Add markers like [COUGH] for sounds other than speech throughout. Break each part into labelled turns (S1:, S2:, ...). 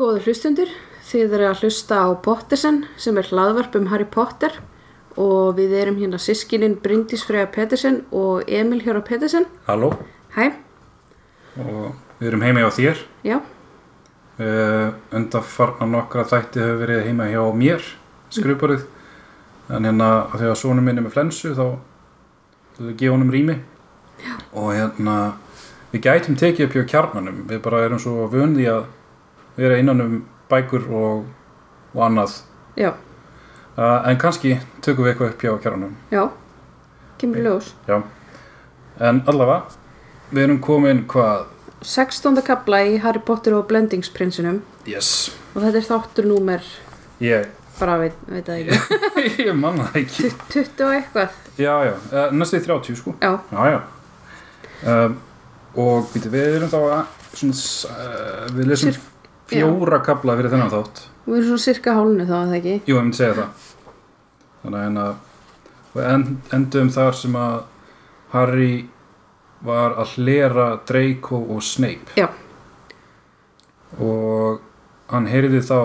S1: Góður hlustundur, þið eru að hlusta á Pottersen sem er hlaðvarp um Harry Potter og við erum hérna sískinin Bryndís Freyja Pettersen og Emil Hjóra Pettersen.
S2: Halló
S1: Hæ,
S2: og við erum heima hjá þér
S1: já,
S2: uh, undanfarna nokkra þætti hefur verið heima hjá mér skruparið en hérna af því að sonum minni með flensu þá þú við gefa honum rými Já. og hérna við gætum tekið upp hjá kjarnanum við bara erum svo vöndi að vera innan um bækur og, og annað
S1: já,
S2: uh, en kannski tökum við eitthvað upp hjá kjarnanum
S1: já, kemur í ljós.
S2: Já. en allavega við erum komin hvað
S1: 16. kapla í Harry Potter og Blendingsprinsinum
S2: yes.
S1: og þetta er þáttur númer,
S2: ég, [LAUGHS]
S1: bara veit, veit það ekki,
S2: ég manna það ekki
S1: 20 og eitthvað.
S2: Já, já, uh, næstu í 30 sko
S1: Já,
S2: Já, já um, Og býtu, við erum þá að, svona, uh, við lesum
S1: Sér-
S2: fjóra kabla fyrir þennan þátt
S1: við erum svona cirka hálnu þá, er það ekki?
S2: Jú, ég myndi segja það Þannig að en að við en- endum þar sem að Harry var að hlera Draco og Snape
S1: Já.
S2: Og hann heyrði þá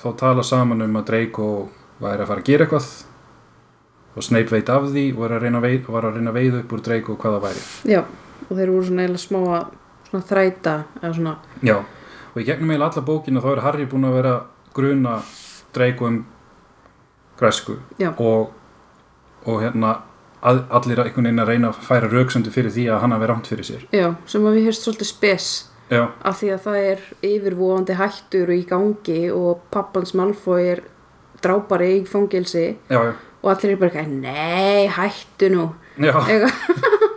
S2: þá tala saman um að Draco væri að fara að gera eitthvað og Snape veit af því og var að reyna að veið, var að reyna að veið upp úr Draco hvað það væri
S1: Já, og þeir voru svona eiginlega smá að svona þræta eða svona,
S2: Já, og í gegnum eiginlega alla bókina þá er Harry búin að vera að gruna Draco um græsku
S1: Já.
S2: og, og hérna að, allir að einhvern veginn að reyna að færa rauksöndu fyrir því að hann hafi rámt fyrir sér
S1: já, sem að við hérst svolítið spes
S2: Já,
S1: af því að það er yfirvóandi hættur í gangi og pappans Malfoy er drápari í fangilsi
S2: já, já,
S1: og allir er bara eitthvað, nei, hættu nú
S2: já,
S1: eitthvað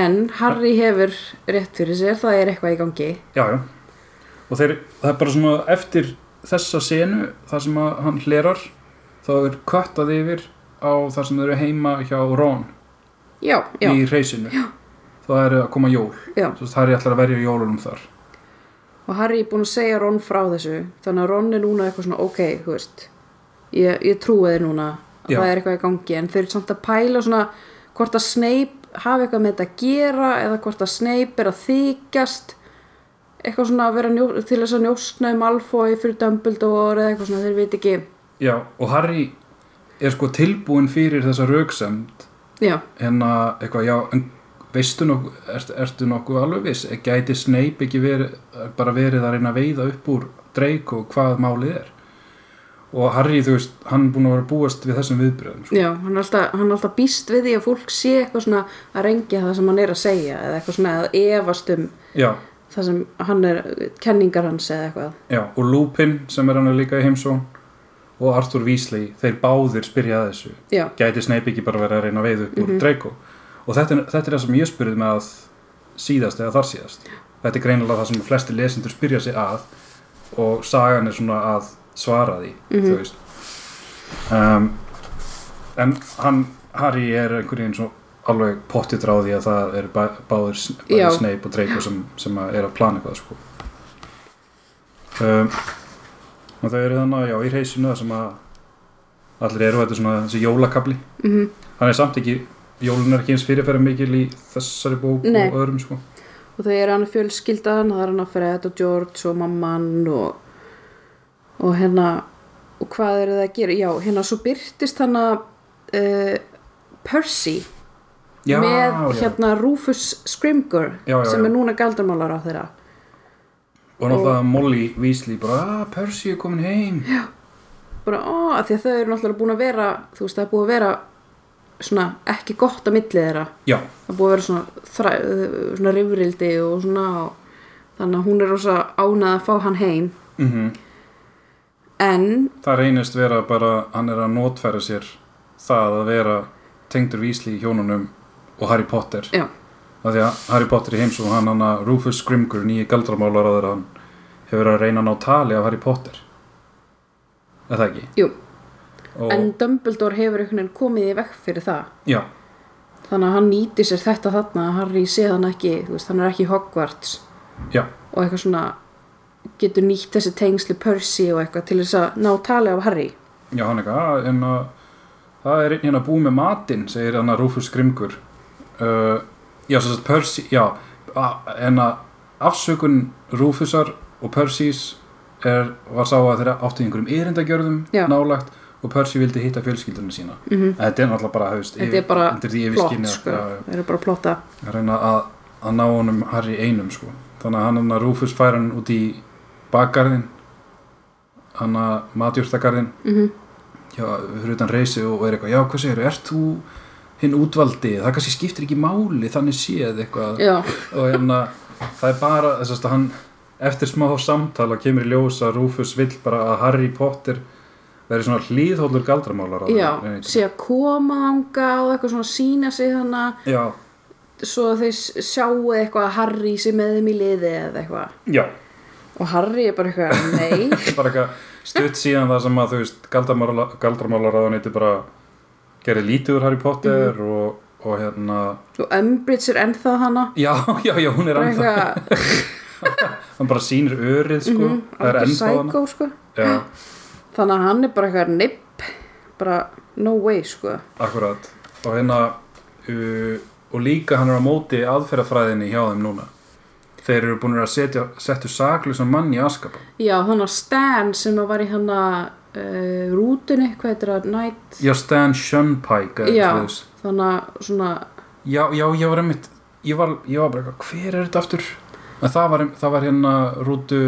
S1: en Harry hefur rétt fyrir sér, það er eitthvað í gangi
S2: já, já. og þeir, það er bara svona eftir þessa senu þar sem að hann hlerar þá er kvöttað yfir á þar sem þeir eru heima hjá Ron
S1: já, já,
S2: í reysinu já. það eru að koma jól
S1: já
S2: Svo Harry ætlar að verja jólunum þar
S1: og Harry er búin að segja Ron frá þessu þannig að Ron er núna eitthvað svona ok, þú veist ég, ég trúi þið núna að
S2: Já.
S1: það er eitthvað í gangi en þau eru samt að pæla svona hvort að Snape hafi eitthvað með þetta að gera eða hvort að Snape er að þykjast eitthvað svona að vera njó, til þess að njósna um Malfoy fyrir Dumbledore eða eitthvað svona þeir veit ekki
S2: Já, og Harry er sko tilbúin fyrir þessa rauksemd
S1: já,
S2: en að eitthvað, já, en veistu nokkuð, ert, ertu nokkuð alveg viss gæti Snape ekki verið, bara verið að reyna að veiða upp úr Draco hvað málið er og Harry, þú veist, hann er búin að vera að búast við þessum viðbröðum, sko.
S1: já, hann er, alltaf, hann er alltaf býst við því að fólk sé eitthvað svona að rengja það sem hann er að segja eða eitthvað svona að efast um
S2: sko. Já,
S1: það sem hann er, kenningar hans eða eitthvað
S2: já, og Lupin sem er hann líka í heimsón og Arthur Weasley, þeir báðir spyrja að þessu
S1: já,
S2: gæti Snape ekki bara verið að reyna að veiða upp úr Draco og þetta, er- þetta er það sem ég spurði með að síðast eða þar síðast þetta er greinilega það sem flesti lesendur spyrja sig að og sagan er svona að svara því þú veist um, en hann Harry er einhvern veginn svo alveg pottið ráði að það eru bæ- báðir, sn-
S1: Já.
S2: bæðir Snape og Draco sem, sem að er að plana eitthvað sko um, og það eru þannig já, í reysinu það sem að allir eru þetta er svona þessi jólakabli
S1: mhm
S2: hann er samt ekki, jólun er ekki eins fyrirferða mikil í þessari bók
S1: Nei.
S2: og öðrum sko.
S1: og þau eru hann að fjölskylda hann það er hann að Fred og George og mamman og, og hérna og hvað eru það að gera já, hérna svo byrtist hann að uh, Percy
S2: já,
S1: með
S2: já.
S1: hérna Rufus Scrimger
S2: Já, já,
S1: sem
S2: já.
S1: er núna galdarmálar á þeirra
S2: og náttúrulega Molly Weasley bara, að Percy er komin heim já,
S1: bara, ó, af því að þau eru náttúrulega búin að vera þú veist, það er búin að vera svona ekki gott á milli þeirra
S2: já,
S1: það er búið að vera svona, þræ, svona rifrildi og svona þannig að hún er rosa ánað að fá hann heim
S2: mhm.
S1: en
S2: það reynist vera bara hann er að notfæra sér það að vera tengdur Weasley í hjónunum og Harry Potter
S1: Já.
S2: af því að Harry Potter í heims og hann, hann að Rufus Grimgur, nýji galdramálar áður hann hefur verið að reyna að ná tali af Harry Potter er það ekki?
S1: Jú.
S2: og,
S1: En Dumbledore hefur einhvern veginn komið í vekk fyrir það.
S2: já,
S1: Þannig að hann nýti sér þetta þarna að Harry sé hann ekki, þú veist, hann er ekki í Hogwarts
S2: já,
S1: og eitthvað svona getur nýtt þessi tengsli Percy og eitthvað til þess að ná tali af Harry.
S2: Já, hann eitthvað, "Ah, en að það er einn hérna að búið með matinn, segir hann að Rufus Grimgur. Uh, já, svo að Percy, já, a- en að afsökun hérna, Rufusar og Perseus er, var sá að þeirra átti í einhverjum erindagjörðum
S1: Já.
S2: nálægt og Percy vildi hitta fjölskyldunum sína
S1: mm
S2: en þetta er náttúrulega bara, hefst,
S1: Þetta er bara
S2: undir því
S1: plott
S2: yfirskynni
S1: sko, þeir eru bara að plotta
S2: að reyna að, að ná honum Harry einum sko. þannig að hann hann að Rufus fær hann út í bakgarðin hann að matjúrtagarðin
S1: mm
S2: já, fyrir utan reysi og er eitthvað já, hvað segir, ert þú hinn útvaldi það kannski skiptir ekki máli, þannig séð eitthvað
S1: Já,
S2: og hérna, það er bara þess að hann, eftir smá samtala kemur í ljós að Rufus vill bara að Harry Potter verði svona hlýðhóllur galdramálar
S1: já, sé að koma þanga og eitthvað svona sína sig hana
S2: já,
S1: svo að þeir s- sjáu eitthvað að Harry sé með þeim í liði eða eitthvað
S2: já
S1: og Harry er bara eitthvað, nei
S2: [LAUGHS] bara eitthvað stutt síðan það sem að þú veist galdramála, galdramálaráðanýtti bara gerði lítið úr Harry Potter
S1: Mhm.
S2: og, og hérna
S1: og Umbridge er ennþá hana
S2: já, [LAUGHS] já, já, hún er
S1: bara
S2: ennþá
S1: eitthvað,
S2: hann bara sýnir örið sko það er
S1: Mhm, alveg
S2: ennþá hana
S1: psycho sko
S2: já,
S1: þannig að hann er bara eitthvað nipp bara no way sko
S2: akkurat og hérna uh, og líka hann er á móti aðferðafræðinni hjá þeim núna þeir eru búin að setja settu saklusan mann í askapa
S1: já, þannig að Stan sem að var í hana uh, rútunni, hvað heitir það, Night
S2: já, Stan Shunpike eða
S1: já,
S2: svoleiðis.
S1: þannig að svona
S2: Já, já, ég var einmitt ég var, ég var bara eitthvað, hver er þetta aftur? En það var, það var hérna rútu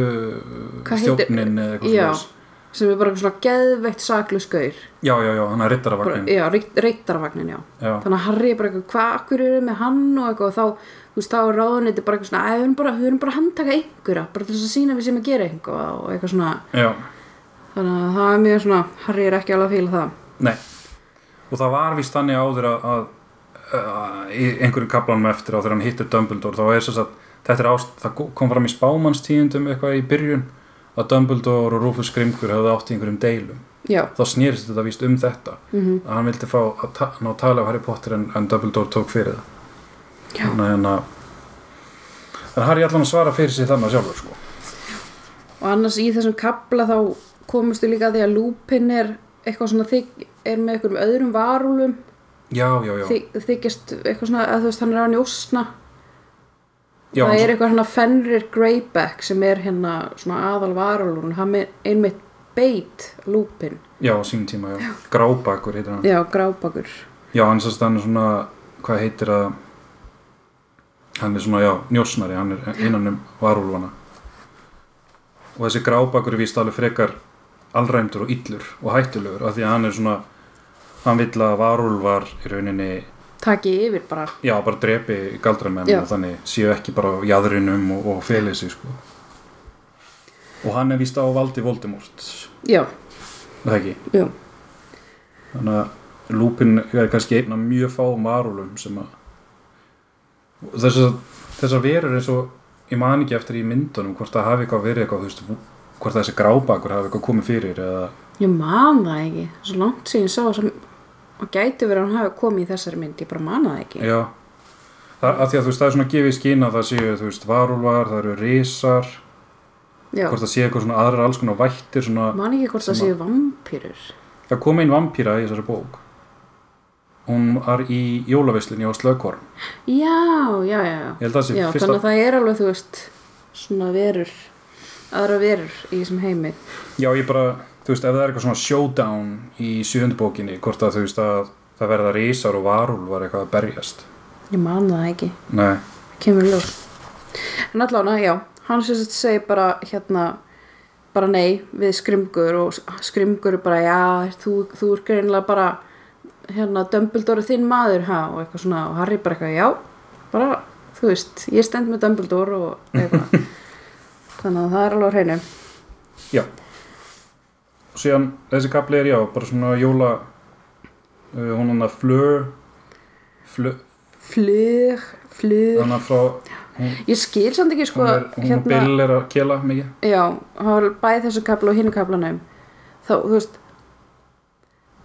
S1: Hvað heitir-
S2: stjóknin eða eitthvað
S1: já,
S2: svoleiðis.
S1: sem er bara eitthvað svona geðveitt sakluskaur
S2: Já, já, já, hann
S1: bara,
S2: er rittarafagnin
S1: já, reyktarvagnin, já
S2: Já,
S1: þannig að Harry er bara eitthvað, hvað, akkur eru með hann og eitthvað og þá, þú veist, þá er ráðuniti bara eitthvað svona, að við erum bara, við erum bara að handtaka einhverja bara til þess að sína við sem að gera eitthvað og eitthvað svona,
S2: já,
S1: þannig að það er mjög svona Harry er ekki alveg að fíla það
S2: nei Og það var víst þannig áður að, að, að í einhverjum kaplanum eftir á þegar hann hittir Dumbledore þá er þess að þetta er ást, það kom fram í spámannstíðundum eitthvað í byrjun að Dumbledore og Rufus Grimgur hefðu átt í einhverjum deilum
S1: já,
S2: þá snerist þetta víst um þetta
S1: mhm,
S2: að hann vildi fá að ta ná að tala af Harry Potter en, en Dumbledore tók fyrir það
S1: Já.
S2: þannig að hérna- þannig að Harry allan að svara fyrir sig þannig sjálfur sko
S1: og annars í þessum kabla þá komustu líka að því að Lupin er eitthvað svona þyk, er með einhverjum öðrum varúlum,
S2: já, já, já,
S1: þyk, þykist eitthvað svona, að þú veist, hann er á njósna
S2: já
S1: það er
S2: hann,
S1: eitthvað hérna Fenrir Greyback sem er hérna svona aðal varúlun, hann er einmitt beit Lupin,
S2: já, á sínum tíma, já, grábakur heitir hann
S1: já, grábakur
S2: já, hann sérst hann er svona, hvað heitir að hann er svona, já, njósnari hann er innan um varúlfana og þessi grábakur er víst alveg frekar alræmdur og illur og hættulegur af því að hann er svona hann vill að varúlfar í rauninni
S1: taki yfir bara
S2: Já, bara drepi galdramenn
S1: Já.
S2: og þannig séu ekki bara á jæðrinum og, og felið sig sko. Og hann er víst á valdi Voldemort,
S1: já,
S2: er það ekki?
S1: já,
S2: Þannig að Lúpin er kannski einn af mjög fáum varúlum sem að Og þessar, þessar verur eins og ég man ekki eftir í myndunum hvort það hafi eitthvað verið eitthvað, þú veist, hvort þessi grábakur hafi eitthvað komið fyrir eða
S1: ég man það ekki svo langt síðan sá sem og gæti verið að hann hafi komið í þessari mynd ég bara man það ekki
S2: Já, það, að því að þú veist, það er svona gefið skýna það séu, þú veist, varúlvar, það eru risar,
S1: já,
S2: hvort það séu eitthvað svona aðrar alls konar vættir svona
S1: man ekki hvort það
S2: Sem
S1: séu vampýrur
S2: Það kom einn vampíra í þessari bók. Hún var í jólaveislinni á Slögvorm.
S1: já, já, já, já,
S2: Ég held að það sé
S1: já
S2: fyrsta...
S1: þannig að það er alveg þú veist svona verur aðra verur í þessum heimi
S2: Já, ég bara, þú veist, ef það er eitthvað svona showdown í sjöundu bókinni, hvort að þú veist að það verða risar og varúlvar eitthvað að berjast.
S1: ég man það ekki,
S2: Nei,
S1: kemur í ljós en allavega, já, hann sem sagt segir bara hérna bara nei við skrimgur og skrimgur er bara já, ert þú, þú er greinilega bara hérna Dumbledore er þinn maður ha, og eitthvað svona og Harry bara eitthvað já, bara þú veist, ég stend með Dumbledore og eitthvað þannig að það er alveg á hreinu
S2: já. Og síðan, þessi kapli er, já, bara svona jóla... Uh, hún hann að flög... Flög...
S1: flug, flug
S2: Þannig að frá... Hún,
S1: Ég skil samt ekki sko
S2: hún er, hún og Bill er að kela mikið.
S1: Já, það var bæði þessu kapla og hinu kaplanum Þá, þú veist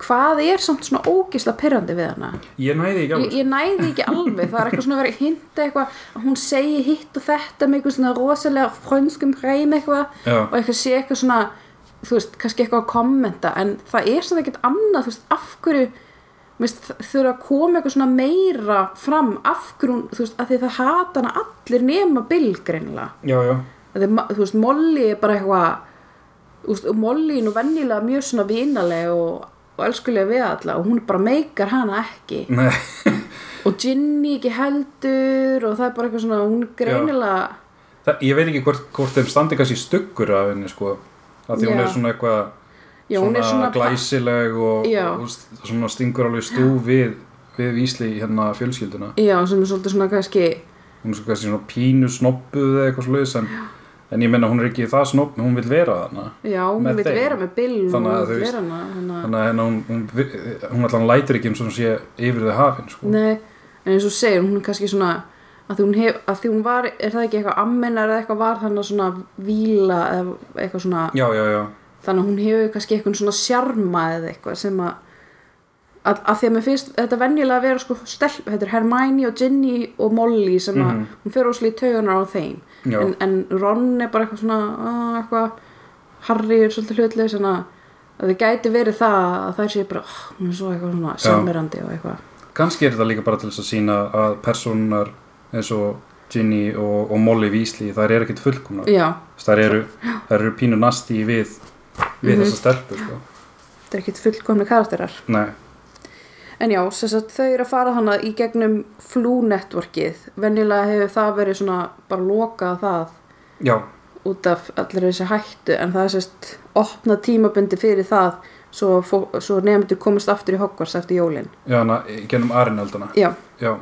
S1: Hvað er samt svona ógisla pyrrandi við hana?
S2: Ég næði ekki
S1: Ég,
S2: alveg.
S1: ég næði ekki alveg, það er eitthvað svona verið að hinta eitthvað að Hún segi hitt og þetta með eitthvað svona rosalega frönskum hreim eitthvað
S2: Já,
S1: Og eitthvað sé eitthvað svona, þú veist, kannski eitthvað að kommenta En það er samt ekkert annað, þú veist, af hverju þú veist, þurfa að koma eitthvað svona meira fram af hverjum, þú veist, að því það hata hana allir nema Bill greinlega
S2: já, já.
S1: Þeir, þú veist, Molly er bara eitthvað þú veist, og Molly er nú venjulega mjög svona vinaleg og, og elskulega við alla og hún bara meikar hana ekki
S2: Nei, [LAUGHS]
S1: og Ginny ekki heldur og það er bara eitthvað svona, hún greinilega
S2: það, ég veit ekki hvort, hvort þeim standi kannski stuggur af henni sko að því hún
S1: Já.
S2: er svona eitthvað
S1: já, hún er svona
S2: glæsileg og,
S1: Já.
S2: og st- svona stingur alveg stú við, við vísli í hérna fjölskylduna
S1: já, sem er svolítið svona kannski
S2: hún er svo kannski svona pínu snobbuð eða eitthvað slúðis en, en ég menna hún er ekki það snobb hún vil vera þarna
S1: já, hún
S2: Með
S1: vil
S2: þeim.
S1: vera með Bill og hún
S2: Þannig að
S1: vil
S2: þú veist-
S1: vera hana þannig að,
S2: þannig að hérna hún, hún, vi- hún allan lætir ekki um svona sé yfir þau hafin sko.
S1: nei, en eins og þú segir hún er kannski svona að því hún, hef, að því hún var, er það ekki eitthvað ammenar eða eitthvað var þannig að svona víla eða eitthvað svona
S2: já, já, já,
S1: þannig að hún hefur kannski eitthvað svona sjarma eða eitthvað sem að að, að því að mér finnst þetta venjulega að vera sko stelp, þetta er Hermione og Ginny og Molly sem að
S2: Mhm.
S1: hún fer ósli í taugunar á þeim
S2: Já.
S1: en, en Ron er bara eitthvað svona uh, eitthvað, Harry er svolítið hlutlega svona að það gæti verið það að þær sé bara, oh, hún er svo eitthvað svona samverandi og eitthvað,
S2: kannski er þetta líka bara til þess að sína að personar eins og Ginny og, og Molly Vísli þær eru ekkit fullkomna
S1: já,
S2: þær eru, þær eru pínu nasti við við
S1: Mhm.
S2: þessa stelpu sko.
S1: þetta er ekkit fullkomni karakterar
S2: nei,
S1: En já, sem sagt, þau eru að fara hana í gegnum flú-networkið. Venjulega hefur það verið svona bara lokað það
S2: já,
S1: út af allir þessi hættu en það er sérst opna tímabundi fyrir það svo, fó- svo nefndur komist aftur í Hogwarts eftir jólin
S2: já, hana, í gennum Arinaldana
S1: já,
S2: já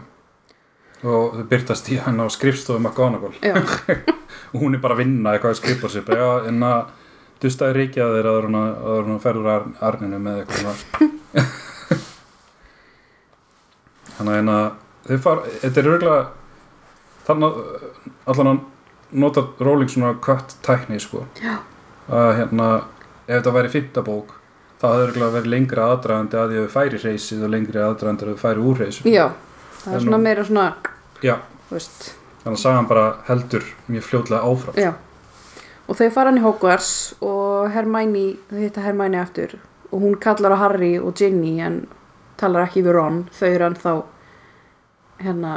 S2: og þau byrtast í hann á skrifstofum McGonagall
S1: [LAUGHS] já,
S2: og hún er bara að vinna eitthvað að skrifa sér bara, já, en að hérna dustaði ríkja þeir að hún, að hún ferður ar arninu með eitthvað svona. [LAUGHS] þannig að, en að þau fara, þetta er örgulega þannig að allan að nota Rowling svona kött tækni sko
S1: Já.
S2: að hérna ef þetta væri fimmta bók það hefði örgulega verið lengra aðdragandi að því að þau færi reysið og lengra aðdragandi að þau færi úr reysið
S1: já það er
S2: En
S1: svona
S2: nú-
S1: meira svona
S2: Já.
S1: þú veist,
S2: þannig að sagan bara heldur mjög fljótlega áfram
S1: já og þau fara hann í Hogwarts og Hermione, þau hitta Hermione aftur og hún kallar á Harry og Ginny en talar ekki við Ron þau eru ennþá hérna,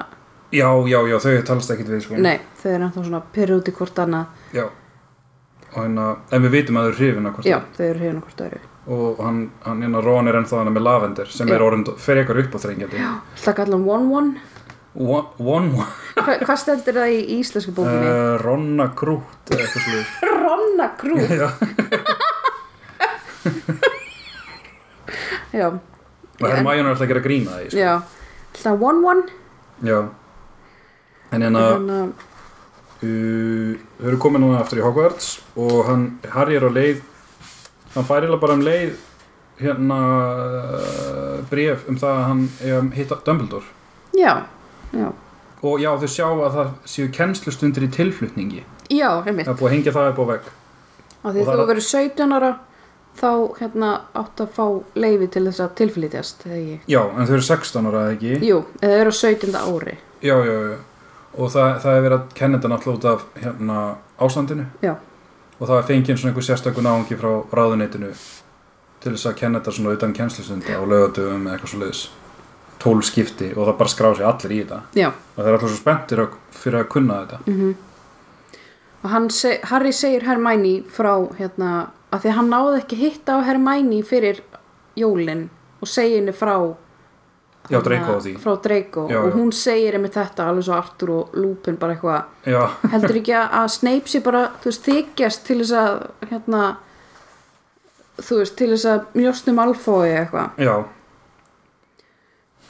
S2: já, já, já, þau talast ekkit við sko
S1: nei, þau eru ennþá svona pyrr út í hvort annað,
S2: Já og hérna, en við vitum að þau eru hrifin af hvort
S1: já, þau eru hérna hvort öðru
S2: og hann, hann hérna Ron er ennþá hann með lavendur sem
S1: Já.
S2: er orðin frekar upp á þrengjandi
S1: það kallar hann One One
S2: One, one, one.
S1: Hva, hvað stendur það í íslensku bókinni?
S2: Uh, Ronna Krút eða eitthvað
S1: [LAUGHS]
S2: slúður
S1: Ronna Krú
S2: [LAUGHS] Já.
S1: Já,
S2: og það er mæjun alltaf að gera grína því sko.
S1: já Það one one
S2: Já. en hérna uh,
S1: Þannig að-
S2: þau eru komin hann aftur í Hogwarts og hann, Harry er á leið hann fær eiginlega bara um leið hérna uh, bref um það að hann um, hitta Dumbledore
S1: Já, já
S2: og já þau sjá að það séu kennslustundir í tilflutningi
S1: Já, einmitt
S2: Það er búið að hengja það upp á vegg.
S1: Af því
S2: Og það
S1: að þú
S2: er-
S1: verður 17 ára þá hérna átt að fá leifi til þess að tilflytjast eða ekki
S2: Já, en þau eru 16 ára eða ekki.
S1: Jú, eða eru á 17. ári
S2: Já, já, já. Og það, það er verið að kenna þetta náttúrulega út af hérna, ástandinu.
S1: Já.
S2: Og það er fengið svona einhver sérstakun áhengi frá ráðuneytinu til þess að kenna þetta svona utan kennslustundi á lögatöfum eða eitthvað svo leiðis. Tól skipti og það bara skrá sér allir í þetta.
S1: Já,
S2: Og það er alltaf svo spenntir að, fyrir að kunna þetta.
S1: mhm Og hann seg, Harry segir Hermæni frá hérna að því að hann náði ekki hitta á Hermæni fyrir jólin og segi henni frá hérna,
S2: Já, dreika á því.
S1: frá Draco
S2: Já,
S1: og
S2: já.
S1: hún segir einmitt þetta alveg svo Arthur og Lupin bara eitthvað
S2: Já,
S1: heldur ekki að að Snape sé bara þú veist, þykjast til þess að hérna, þú veist, til þess að mjóstum alfói eitthvað
S2: já,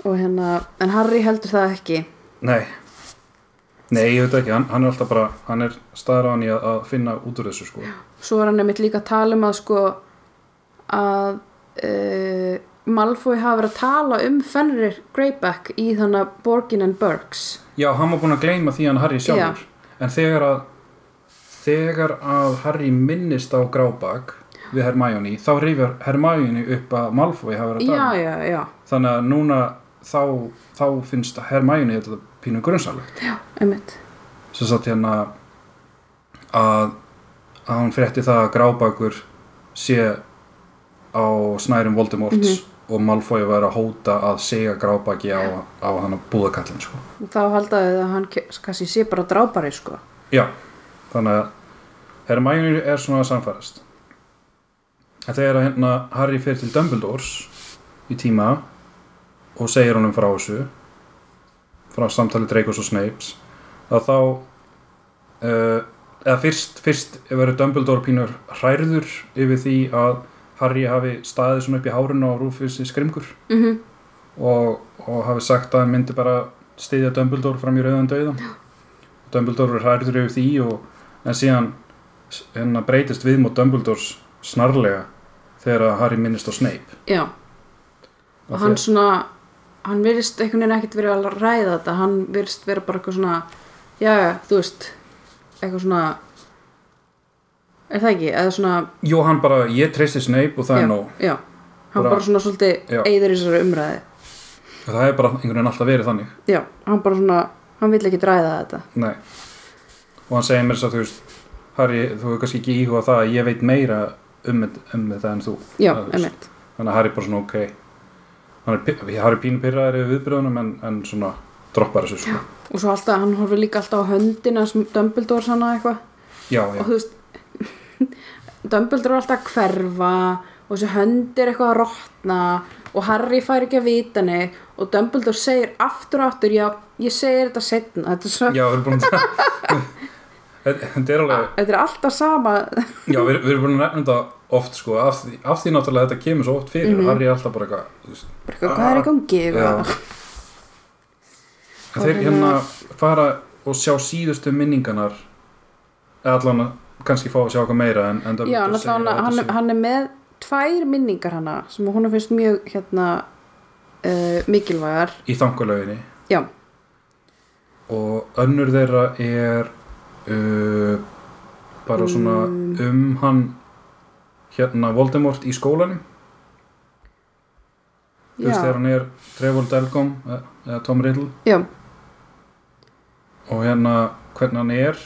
S1: og hérna, en Harry heldur það ekki
S2: nei. Nei, ég veit ekki, hann, hann er alltaf bara, hann er staðráðan í að, að finna út úr þessu sko.
S1: svo var hann einmitt líka að tala um að sko að uh, Malfoy hafa verið að tala um Fenrir Greyback í þannig að Borgin and Burks
S2: Já, hann var búinn að gleyma því hann Harry sjálfur en þegar að þegar að Harry minnist á Grábak við Hermione þá rifjar Hermione upp að Malfoy hafa verið að
S1: já,
S2: tala
S1: já, já,
S2: þannig að núna þá, þá finnst Hermione þetta pínu grunnsalegt
S1: einmitt
S2: sem satt hérna að, að hann frétti það að Grábakur sé á snærum Voldemorts
S1: Mhm.
S2: og Malfoy var að hóta að segja Grábaki á, á hann að búðakallin sko
S1: og þá haldaði að hann ke- kannski sé bara drápari sko
S2: Já, þannig að Hermione er svona að samfærast en þegar að hérna Harry fer til Dumbledores í tíma og segir honum frá þessu frá samtali Dreykos og Snapes að þá uh, eða fyrst, fyrst verður Dumbledore pínur hrærður yfir því að Harry hafi staðið svona upp í hárinu á Rufus í skrimgur
S1: mhm
S2: og, og hafi sagt að hann myndi bara stiðja Dumbledore fram í rauðan dauðan Dumbledore er hærður yfir því og, en síðan s- hérna breytist viðmót Dumbledores snarlega þegar að Harry minnist á Snape
S1: Já, og hann svona hann virðist einhvern veginn ekkert verið að ræða þetta hann virðist vera bara eitthvað svona já, já, þú veist eitthvað svona er það ekki, eða svona
S2: Jó, hann bara, ég treysti Snape og það
S1: já,
S2: er nóg
S1: já, hann
S2: Bara-
S1: bara svona svolítið
S2: Já.
S1: eyður í þessari umræði
S2: það er bara einhvern veginn alltaf verið þannig
S1: já, hann bara svona, hann vill ekki ræða þetta
S2: Nei. og hann segir mér þess að þú veist Harry, þú hefur kannski ekki íhuga það að ég veit meira um, þetta- um þetta en þú
S1: já,
S2: Það er
S1: emitt,
S2: þannig að Harry bara svona ok hann er, pi- Harry pínu pyrraður yfir viðbröðunum en, en svona droppar þessu sko.
S1: og svo alltaf, hann horfir líka alltaf á höndina sem Dumbledore sanna eitthvað
S2: já, já,
S1: og þú veist [LAUGHS] Dumbledore er alltaf að hverfa og þessi hönd er eitthvað að rotna og Harry fær ekki að vita neitt og Dumbledore segir aftur og aftur já, ég segir þetta setna þetta er, svo,
S2: já, við erum búin að [LAUGHS] Þetta- þetta er alveg
S1: þetta er alltaf sama
S2: já, við, við erum búin að nefna þetta oft sko, af, því, af því náttúrulega þetta kemur svo oft
S1: Mhm.
S2: fyrir Harry er alltaf bara eitthvað þú veist,
S1: Bara eitthvað, hvað er í gangi
S2: Já. En þeir
S1: Og
S2: hérna
S1: hérna-
S2: fara og sjá síðustu minningarnar eða allan að kannski fá að sjá eitthvað meira en, en
S1: já,
S2: Dumbledore segir
S1: náttúrulega
S2: að
S1: hann,
S2: þetta sé-
S1: hann er með tvær minningar hana sem hún finnst mjög hérna uh, mikilvægar
S2: í þankulöginni
S1: já,
S2: og önnur þeirra er uh, bara svona um hann hérna Voldemort í skólanum þú veist þegar
S1: já,
S2: hann er Trevor Delgom eða- eða Tom Riddle
S1: já,
S2: og hérna hvernig hann er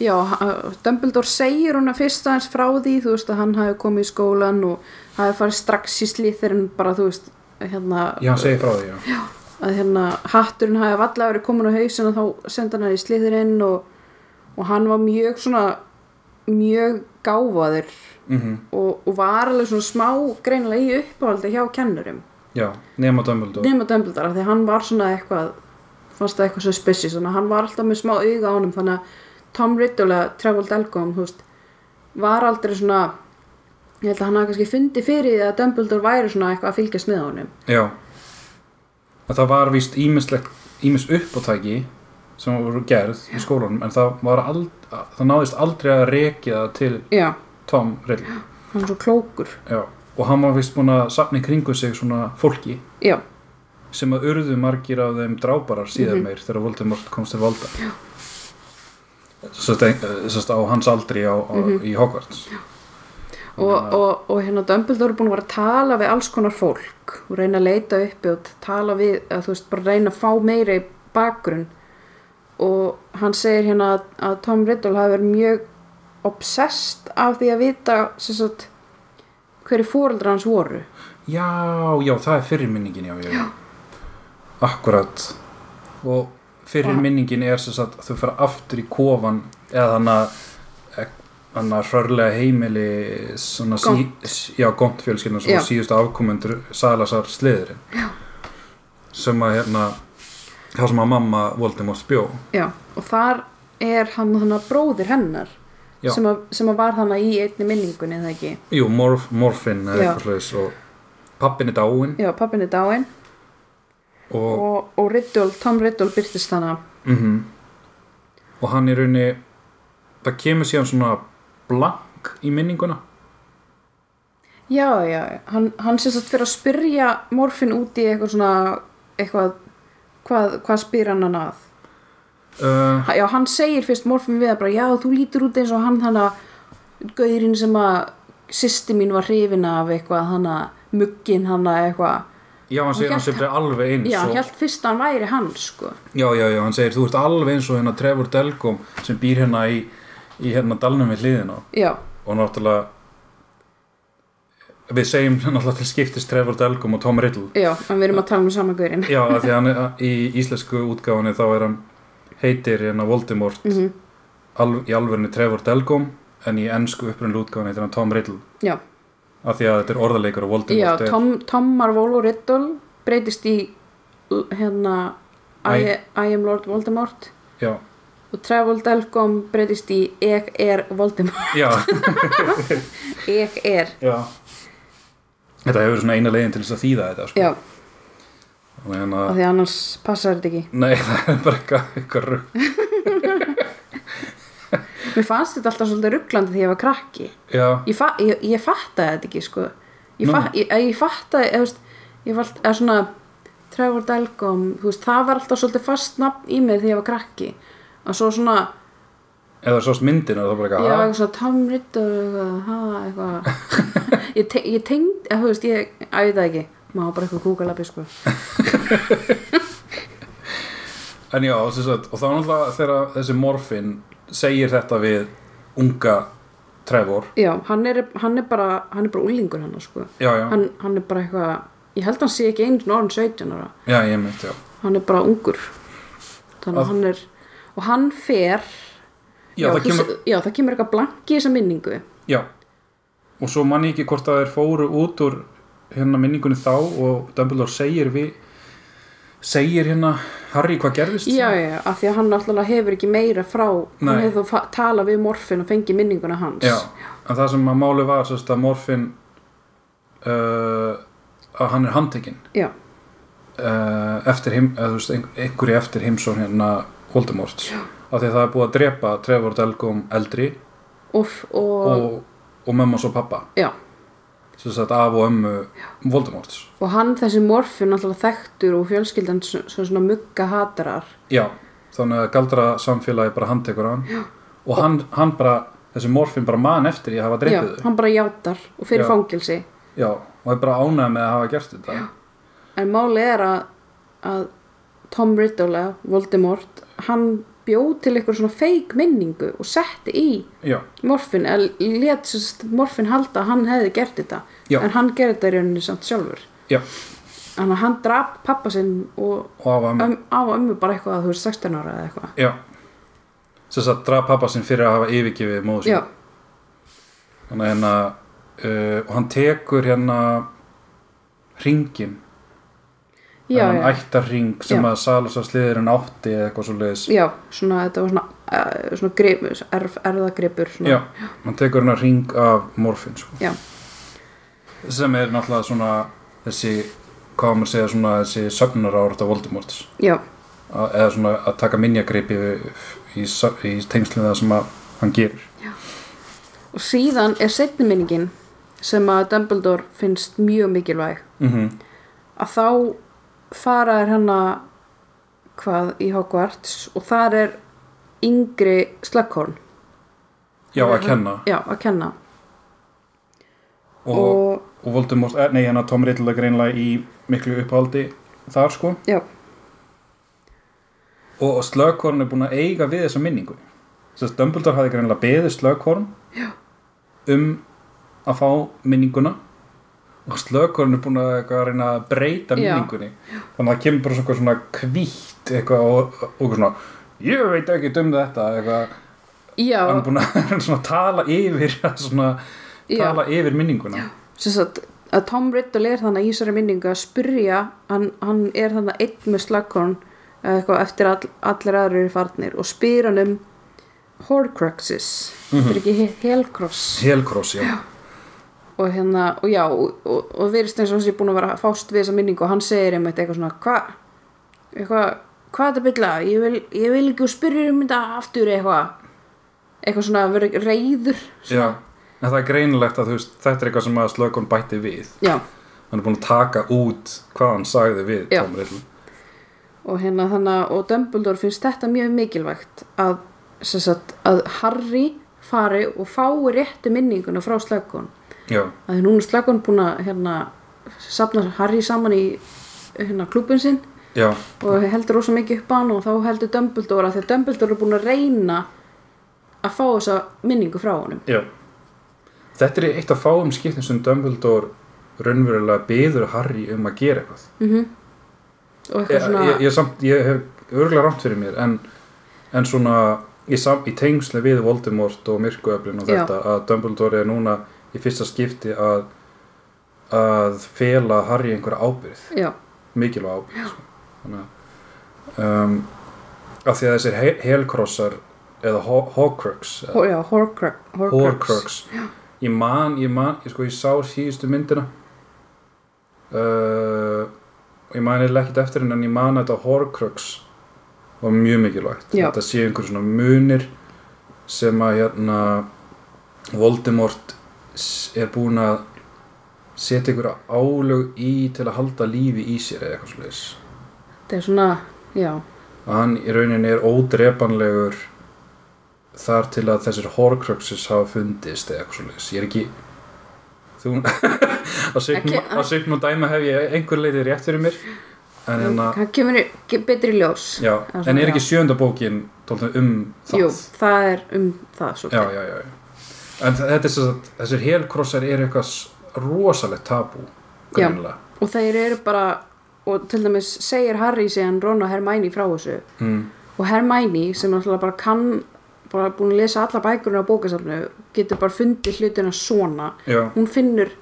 S1: Já, ha- Dumbledore segir hún að fyrst aðeins frá því, þú veist að hann hafi komið í skólan og hafi farið strax í slíþurinn bara, þú veist, hérna,
S2: já hann segir frá því já.
S1: að hérna hatturinn hafi valla verið komin á hausin og þá senda hann í slíþurinn og, og hann var mjög svona, mjög gáfaður
S2: Mm
S1: og, og var alveg svona smá greinilega í uppáhaldi hjá kennurum.
S2: já nema Dumbledore
S1: Nefna Dumbledore, af því að hann var svona eitthvað, fannst það eitthvað suspicious, þannig að hann var alltaf með smá auga á honum, þannig að Tom Riddle eða Trevor Delgum, þú veist, var aldrei svona, ég held að hann hafi kannski fundið fyrir því að Dumbledore væri svona eitthvað að fylgjast með honum.
S2: já að það var víst ímislegt ímis uppátæki sem voru gerð í skólanum en það var ald, það náðist aldrei að rekja það til
S1: Já,
S2: Tom Riddle
S1: hann er svo klókur.
S2: já. og hann var víst búin að safna í kringu sig svona fólki
S1: Já,
S2: sem að urðu margir af þeim drábarar
S1: Mhm.
S2: síðar meir þegar Voldemort komst til valda sérst, sérst á hans aldri á, á, í Hogwarts já.
S1: Mhm. og, og, og hérna Dumbledore er búin að vera að tala við alls konar fólk og reyna að leita uppi og tala við, að, þú veist, bara reyna að fá meira í bakgrunn og hann segir hérna að, að Tom Riddle hafi verið mjög obsessed af því að vita sem sagt, hverju fóreldra hans voru
S2: já, já, það er fyrirminningin já, já, já. akkurat og fyrirminningin er sérst að þau fara aftur í kofan eða þannig að þannig að hrörlega heimili svona sí, já, gont fjölskyldan
S1: Já.
S2: svona síðustu afkomendur Salasar sliðurinn já. sem að hérna þá sem að mamma Voldemort spjó
S1: Já, og þar er hann þannig bróðir hennar
S2: Já.
S1: sem að, sem að var þannig í einni minningunni eða ekki
S2: Jú, morf, morfin eða
S1: Já.
S2: eitthvað slags og pappin er dáin
S1: Já, pappin er dáin
S2: og, og,
S1: og, og Riddle, Tom Riddle byrtist þannig
S2: Mhm. og hann er raunni það kemur síðan svona blank í minninguna
S1: Já, já, hann, hann sérst að fyrir að spyrja morfin út í eitthvað svona eitthvað, hvað, hvað spyr hann hann að
S2: uh,
S1: Ha- Já, hann segir fyrst morfin við að bara, já, þú lítur út eins og hann þannig að gaurinn sem að sýsti mín var hrifin af eitthvað þannig að mugginn hann að eitthvað
S2: Já, hann segir hann
S1: hélt-
S2: sem er alveg eins
S1: Já, hann
S2: og,
S1: held fyrst að hann væri hann, sko
S2: já, já, já, hann segir þú ert alveg eins og hérna Trevor Delgum sem býr hérna í, í hérna dalnum við hliðina
S1: Já,
S2: og náttúrulega við segjum [LAUGHS] náttúrulega til skiptis Trevor Delgum og Tom Riddle
S1: já, en við erum að tala um sama gaurinn
S2: Já, af því að hann er, í íslensku útgáfunni
S1: Mhm.
S2: þá er hann heitir hérna Voldemort mm í alvörinu Trevor Delgum en í ennsku upprunnu útgáðan heitir hann Tom Riddle
S1: já,
S2: af því að þetta er orðarleikur og
S1: já
S2: Voldemort er-
S1: Tom, Tomar Volo Riddle breytist í l- hérna I, I am Lord Voldemort
S2: já,
S1: og Travel Delcom breytist í Ég er Voldemort
S2: já,
S1: [LAUGHS] Ég er,
S2: já þetta hefur verið svona eina leiðin til þess að þýða þetta sko.
S1: já,
S2: og hérna
S1: af því að annars passar þetta ekki
S2: nei, [LAUGHS] það er bara eitthvað, eitthvað rugg
S1: Mér fannst þetta alltaf svolítið rugglandi því ég var krakki
S2: já,
S1: Ég, fa ég, ég fattaði þetta ekki, sko Ég, fa
S2: Nú.
S1: ég, ég fattaði, eða, þú veist, ég var alltaf, eða svona Trevor Delcom, þú veist, það var alltaf svolítið fast nafn í mér því ég var krakki og svo svona,
S2: eða sást myndina þá
S1: ég
S2: bara
S1: var
S2: eitthvað
S1: eitthvað svona Tom Riddle, eitthvað, ha, eitthvað Ég, te ég tengd, eða, þú veist, ég æfði ekki, maður var bara eitthvað kúkalabbi, sko
S2: En já, sem sagt, og þá náttúrulega þegar þessi morfin segir þetta við unga Trevor
S1: Já, hann er, hann er bara, hann er bara úlingur hann, sko
S2: Já, já,
S1: hann, hann er bara eitthvað, ég held hann sé ekki einu sinni orðin 17 ára
S2: já, ég mynd, já
S1: hann er bara ungur þannig að
S2: Að-
S1: hann er og hann fer
S2: Já, það
S1: þú
S2: kemur,
S1: se- já, það kemur eitthvað blanki í þessa minningu
S2: já Og svo mann ég ekki hvort að þeir fóru út úr hérna minningunni þá og Dumbledore segir við segir hérna Harry hvað gerðist
S1: já, já, já, af því að hann náttúrulega hefur ekki meira frá hann
S2: Nei.
S1: hefur þá talað við morfin og fengið minninguna hans
S2: Já, en það sem að máli var sérst að morfin uh, að hann er handtekinn
S1: já,
S2: uh, eftir heim, eða, þú veist, ein- einhverju eftir heimsón hérna Voldemort af því að það er búið að drepa Trevor Delgum eldri
S1: og, f- og,
S2: og, og mömmu og pappa
S1: já.
S2: sem sagt af og ömmu Voldemort
S1: og hann þessi morfin náttúrulega þekktur og fjölskyldan sem sem svona mugga hatarar
S2: já, þannig að galdra samfélagi bara handtekur hann já. og hann, hann bara, þessi morfin bara man eftir í að hafa
S1: já,
S2: dreipið þau
S1: hann bara játar og fyrir
S2: Já.
S1: fangilsi
S2: já, og er bara ánægð með að hafa gert þetta já,
S1: En málið er að, að Tom Riddle, eða Voldemort, hann bjóð til eitthvað svona feik minningu og setti í
S2: já,
S1: morfin, eða let sérst morfin halda að hann hefði gert þetta,
S2: Já.
S1: en hann gerði þetta í rauninni samt sjálfur. Þannig að hann drap pappa sinn og
S2: og af ömmu
S1: öm, á ömmu bara eitthvað að þú er 16 ára eða eitthvað.
S2: já, sem sagt draf pappa sinn fyrir að hafa yfirgefið móðu
S1: Já,
S2: sín þannig að hérna uh, og hann tekur hérna ringin
S1: já,
S2: hann
S1: já,
S2: ættar ring sem
S1: Já.
S2: að Salazar sliðurinn átti eða eitthvað svo leiðis
S1: já, svona þetta var svona, uh, svona grip, erf, erðagripur, svona,
S2: já, hann tekur hérna ring af morfin sko.
S1: Já.
S2: sem er náttúrulega svona þessi, hvað á maður að segja svona þessi sögnar árata Voldemorts
S1: já,
S2: að, eða svona að taka minjagripi í, sa- í tengslum það sem að hann gerir
S1: Og síðan er setni minningin sem að Dumbledore finnst mjög mikilvæg.
S2: mm
S1: Mhm. að þá fara þær hana hvað í Hogwarts og þar er yngri slagkorn
S2: já, að kenna
S1: já, að kenna
S2: og, og,
S1: og,
S2: Voldemort, eh, nei hérna Tom Riddle er greinlega í miklu upphaldi þar sko
S1: já,
S2: og, og slökkorn er búin að eiga við þessa minningu þess að Dumbledore hafði greinlega beðið slökkorn um að fá minninguna og slökkorn er búin að, eitthvað að reyna að breyta
S1: Já.
S2: minningunni þannig að það kemur bara svona, svona kvítt eitthvað og, og eitthvað svona ég veit ekki um þetta eitthvað,
S1: já,
S2: hann er búin að [LAUGHS] hann er svona að tala yfir [LAUGHS] að svona,
S1: já
S2: tala yfir minninguna já,
S1: sem sagt að Tom Riddle er þannig í þessari minningu að spyrja hann, hann er þannig einn með slagkorn eða eitthvað eftir all, allir aðrir eru farnir og spyr hann um Horcruxes
S2: Mhm.
S1: þetta er ekki he- Helcross
S2: helkross, já,
S1: og hérna, og já og, og, og virðist eins og hans er búin að vera að fást við þessa minningu og hann segir einmitt eitthvað svona hvað, eitthvað, hvað er þetta bylla ég vil, ég vil ekki spyrja um þetta aftur eitthvað eitthvað svona að vera reyður
S2: já. En það er greinilegt að þú veist, þetta er eitthvað sem að slökun bætti við.
S1: já,
S2: Hann er búin að taka út hvað hann sagði við
S1: Já.
S2: Tom Riddle.
S1: og hérna þannig að- og Dumbledore finnst þetta mjög mikilvægt að, sem sagt, að Harry fari og fái réttu minninguna frá slagkon
S2: Já,
S1: að því núna er slagkon búin að hérna, safna Harry saman í hérna, klubun sinn
S2: já,
S1: og heldur rosa mikið upp á hann og þá heldur Dumbledore að því að Dumbledore er búin að reyna að fá þessa minningu frá honum
S2: já. Þetta er eitt af fáum skiptum sem Dumbledore raunverulega byður Harry um að gera eitthvað.
S1: og eitthvað
S2: Ég,
S1: svona,
S2: ég, ég, samt, ég hef örgulega rámt fyrir mér en, en svona í, sam, í tengsli við Voldemort og myrkuöflin og
S1: Já.
S2: þetta að Dumbledore er núna í fyrsta skipti að að fela Harry einhverja ábyrgð
S1: já,
S2: mikilvæg ábyrgð sko. þannig að um, af því að þessir he- helkrossar eða Ho- Horcrux eða
S1: Hó- já Horcrux,
S2: Horcrux ég man, ég man, ég sko ég sá síðustu myndina uh, og ég man eða ekkert eftir henni en ég man að þetta Horcrux var mjög mikilvægt
S1: Já.
S2: þetta sé einhver svona munir sem að hérna Voldemort s- er búin að setja einhverja álög í til að halda lífi í sér eða eitthvað slags
S1: þetta er svona, já
S2: að hann í rauninni er ódrepanlegur þar til að þessir horcruxes hafa fundist eða eitthvað svoleiðis, ég er ekki þú [LAUGHS] á Sigmund-
S1: Ekki-
S2: á Sigmund dæma hef ég einhver leiti rétt fyrir mér en, hérna,
S1: hann kemur í- ge- betri ljós
S2: já,
S1: Það er
S2: en er
S1: svona,
S2: ekki sjönda bókin tóltum um það
S1: jú, það er um það
S2: já,
S1: svolítið
S2: já, já, já. en þe- þetta er sem sagt, þessir helkrossar eru eitthvað s- rosalegt tabú
S1: Já.
S2: greinlega
S1: og þeir eru bara og til dæmis segir Harry síðan Ron og Hermæni frá þessu
S2: mm,
S1: og Hermæni sem náttúrulega bara kann bara búin að lesa alla bækurinn á bókasafnu getur bara fundið hlutina svona
S2: já,
S1: hún finnur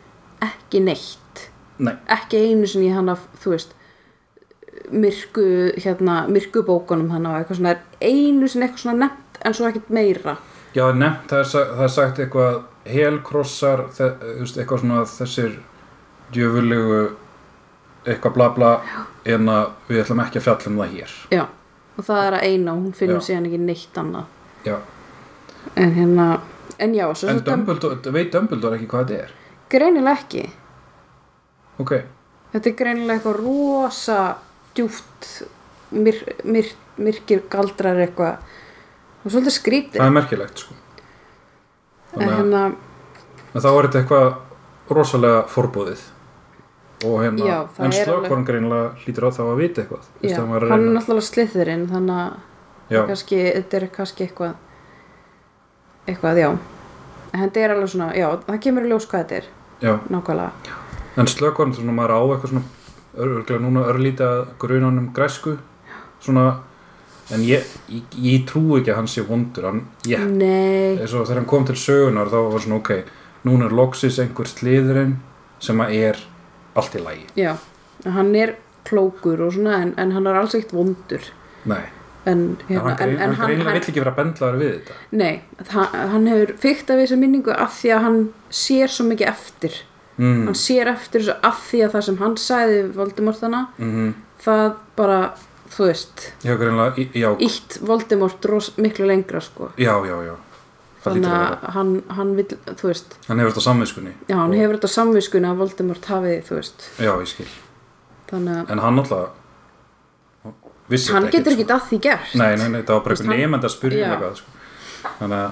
S1: ekki neitt
S2: nei,
S1: ekki einu sinni í hana þú veist myrku, hérna, myrku bókunum hana og eitthvað svona, er einu sinni eitthvað svona nefnt en svo ekkert meira
S2: Já, nefnt, það er, sa- það er sagt eitthvað helkrossar, þe- þú veist, eitthvað svona þessir djöfulegu eitthvað bla bla en að við ætlum ekki að fjalla um það hér
S1: já, og það er að eina og hún finnur
S2: Já.
S1: síðan ekki neitt annað
S2: Já,
S1: en hérna, en já svo,
S2: en
S1: svo Dumb-
S2: Dumbledore, veit Dumbledore ekki hvað þetta er?
S1: greinilega ekki
S2: Ok,
S1: þetta er greinilega eitthvað rosa djúft myr, myr, myrkir galdrar eitthvað og svolítið skrítið
S2: það er merkilegt sko
S1: en
S2: Þannig að
S1: hérna,
S2: en þá er þetta eitthvað rosalega forbúðið og hérna,
S1: Já, það er
S2: en
S1: alveg-
S2: slökvorn greinilega hlýtur á þá að vita eitthvað þú
S1: já,
S2: veist, hann var að
S1: hann er
S2: reyna-
S1: náttúrulega sliðurinn þannig að
S2: Já,
S1: kannski, þetta er kannski eitthvað eitthvað, já en þetta er alveg svona, já, það kemur í ljós hvað þetta er
S2: já
S1: nákvæmlega,
S2: En slökvarn, svona maður á eitthvað svona örgulega núna örlítið að grunanum græsku svona en ég, ég, ég trú ekki að hann sé vondur hann, ég,
S1: nei
S2: eins og þegar hann kom til sögunar þá var svona ok, núna er loksis einhver sliðurinn sem að er allt í lagi,
S1: já, hann er klókur og svona, en, en hann er alls ekkert vondur
S2: nei
S1: en,
S2: en
S1: hérna,
S2: hann, grein,
S1: en, en
S2: hann greinlega vill ekki vera bendlaður við þetta
S1: nei, hann, hann hefur fyrkt af þessu minningu af því að hann sér svo mikið eftir
S2: mm,
S1: hann sér eftir þessu af því að það sem hann sæði Voldemort hana,
S2: mm -hmm.
S1: það bara, þú veist
S2: já, greinlega, í- já,
S1: ítt Voldemort ros, miklu lengra, sko
S2: já, já, já það
S1: þannig
S2: lítur að vera,
S1: að hann, hann vil, þú veist
S2: hann hefur þetta á samviskunni
S1: já, hann
S2: Og-
S1: hefur þetta á samviskunni að Voldemort hafi þú veist,
S2: já, ég skil,
S1: þannig að
S2: en hann alltaf vissi
S1: hann
S2: þetta
S1: getur
S2: sko.
S1: ekki að því gert
S2: Nei, nei, nei, það var bara
S1: Þú
S2: eitthvað
S1: veist, hann-
S2: nefnd að spyrja um
S1: Já.
S2: eitthvað sko. Þannig að,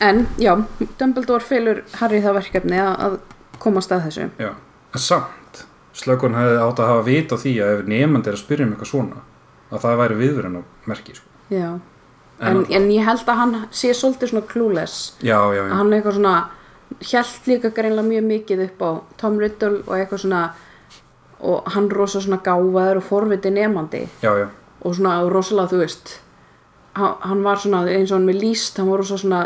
S1: en já, Dumbledore felur Harry það verkefni að, að komast að þessu
S2: já, en samt Slökun hefði átt að hafa vit á því að ef nefnd er að spyrja um eitthvað svona að það væri viðverðin og merki sko.
S1: já, en,
S2: En-
S1: en ég held að hann sé svolítið svona clueless
S2: Já, já, já,
S1: að hann er eitthvað svona hjælt líka greinlega mjög mikið upp á Tom Riddle og eitthvað svona og hann rosa svona gáfaður og forviti nefandi
S2: já, já,
S1: og svona rosalega þú veist hann, hann var svona eins og hann með líst hann var rosa svona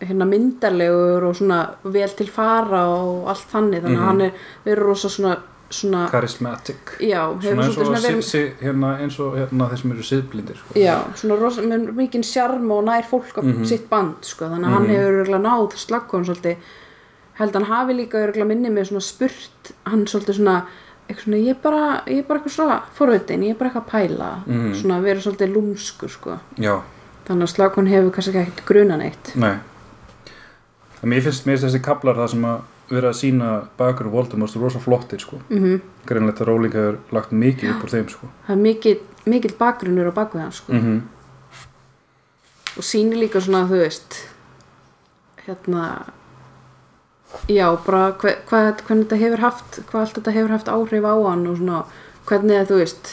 S1: hérna myndarlegur og svona vel til fara og allt þannig þannig að
S2: Mhm.
S1: hann er verið rosa svona, svona
S2: charismatic
S1: já, hefur
S2: Svona eins
S1: svolítið
S2: og,
S1: svona
S2: si,
S1: verið
S2: si, hérna, eins og hérna, þeir sem eru siðblindir sko.
S1: já, svona rosa, með mikinn sjarm og nær fólk á
S2: Mhm.
S1: sitt band sko, þannig að hann hefur örgulega náð slakkon svolítið held hann hafi líka örgulega minni með svona spurt hann svolítið svona eitthvað svona, ég er bara, ég er bara eitthvað svona forvitin, ég er bara eitthvað að pæla
S2: Mhm.
S1: svona verið svolítið lúmskur sko
S2: Já,
S1: Þannig að slagkon hefur kannski ekkert grunan eitt.
S2: nei En Mér finnst, mér finnst þessi kaplar það sem að vera að sína bakur og Voldemort rosa flottir sko. mm -hmm. Greinlega Róling hefur lagt mikið upp úr þeim sko.
S1: Það er mikill, mikill bakgrunnur á bakvið hans sko.
S2: mm -hmm.
S1: Og sýnir líka svona, þú veist, hérna, já, bara hve, hvað, þetta- hvernig þetta hefur haft, hvað allt þetta hefur haft áhrif á hann og svona, hvernig að, þú veist,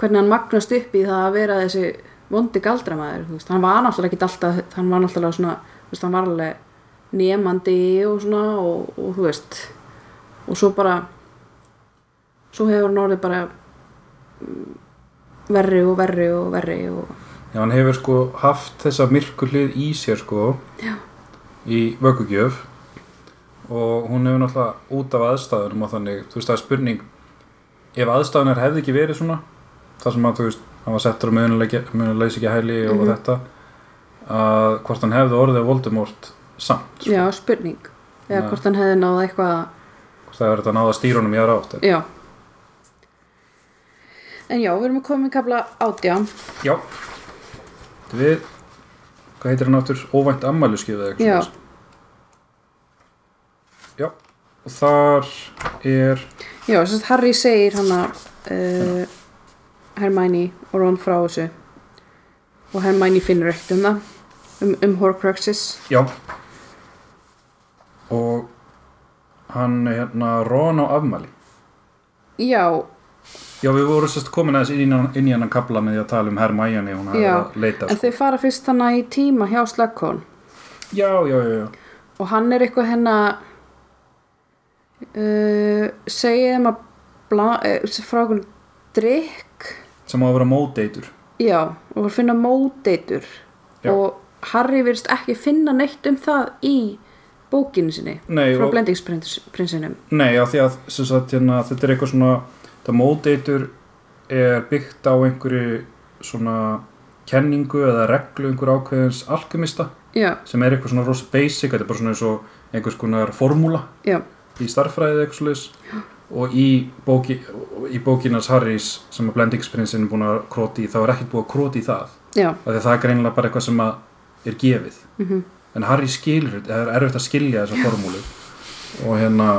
S1: hvernig hann magnast upp í það að vera þessi vondi galdramæður, þú veist, hann var náttúrulega ekki alltaf, hann var náttúrulega svona, þú veist, hann var alveg nefandi og svona og, og þú veist, og svo bara, svo hefur hann orðið bara mm, verri og verri og verri og
S2: Já, hann hefur sko haft þessa myrkulið í sér sko
S1: Já.
S2: í vöggugjöf og hún hefur náttúrulega út af aðstæðunum og þannig, þú veist það er spurning ef aðstæðunar hefði ekki verið svona þar sem að þú veist, hann var settur á munuleysi ekki hæli og
S1: Mhm.
S2: þetta að hvort hann hefði orðið á Voldemort samt, sko.
S1: Já, spurning. Eða
S2: Nei.
S1: hvort hann hefði náða eitthvað að
S2: hvort það hefur þetta náða stýrunum í aðra átt en-
S1: Já En já, við erum að koma í kafla átján
S2: Já, við hvað heitir hann áttur, óvænt ammæluskið eða eitthvað
S1: Já.
S2: svoleiðis. Já, og þar er
S1: Já, þess að Harry segir hann að uh, Hermæni og Ron frá þessu og Hermæni finnur ekkert um það um, um Horcruxes
S2: Já Og hann hérna Ron á afmæli
S1: Já,
S2: Já við vorum sérst komin aðeins inn í, hann- inn í hann að kapla með því að tala um Hermæjani hún hafði
S1: Já,
S2: að leita sko.
S1: en þau fara fyrst hann í tíma hjá Slughorn
S2: Já, já, já, já
S1: og hann er eitthvað hérna, hennar uh, segið þeim að bla, uh, frá okkur drikk
S2: sem á að vera móteitur
S1: Já, og finna móteitur
S2: Já.
S1: og Harry virðist ekki finna neitt um það í bókinu sinni
S2: Nei,
S1: frá
S2: og-
S1: blendingsprinsinum
S2: Nei, já því að sem sagt, hérna, þetta er eitthvað svona það móteitur er byggt á einhverju svona kenningu eða reglu einhver ákveðins alkemista
S1: Já,
S2: sem er eitthvað svona rosa basic þetta er bara svona eins og einhvers konar formúla
S1: já,
S2: í starffræði eða eitthvað slags og í, bóki, í bókinars Harrys sem að blendingsprinsin er búin að króti í þá er ekkert búið að króti í það
S1: já,
S2: af því að það er greinilega bara eitthvað sem að er gefið
S1: mhm.
S2: en Harry skilur, þetta, það er erfitt að skilja þessa formúlu og hérna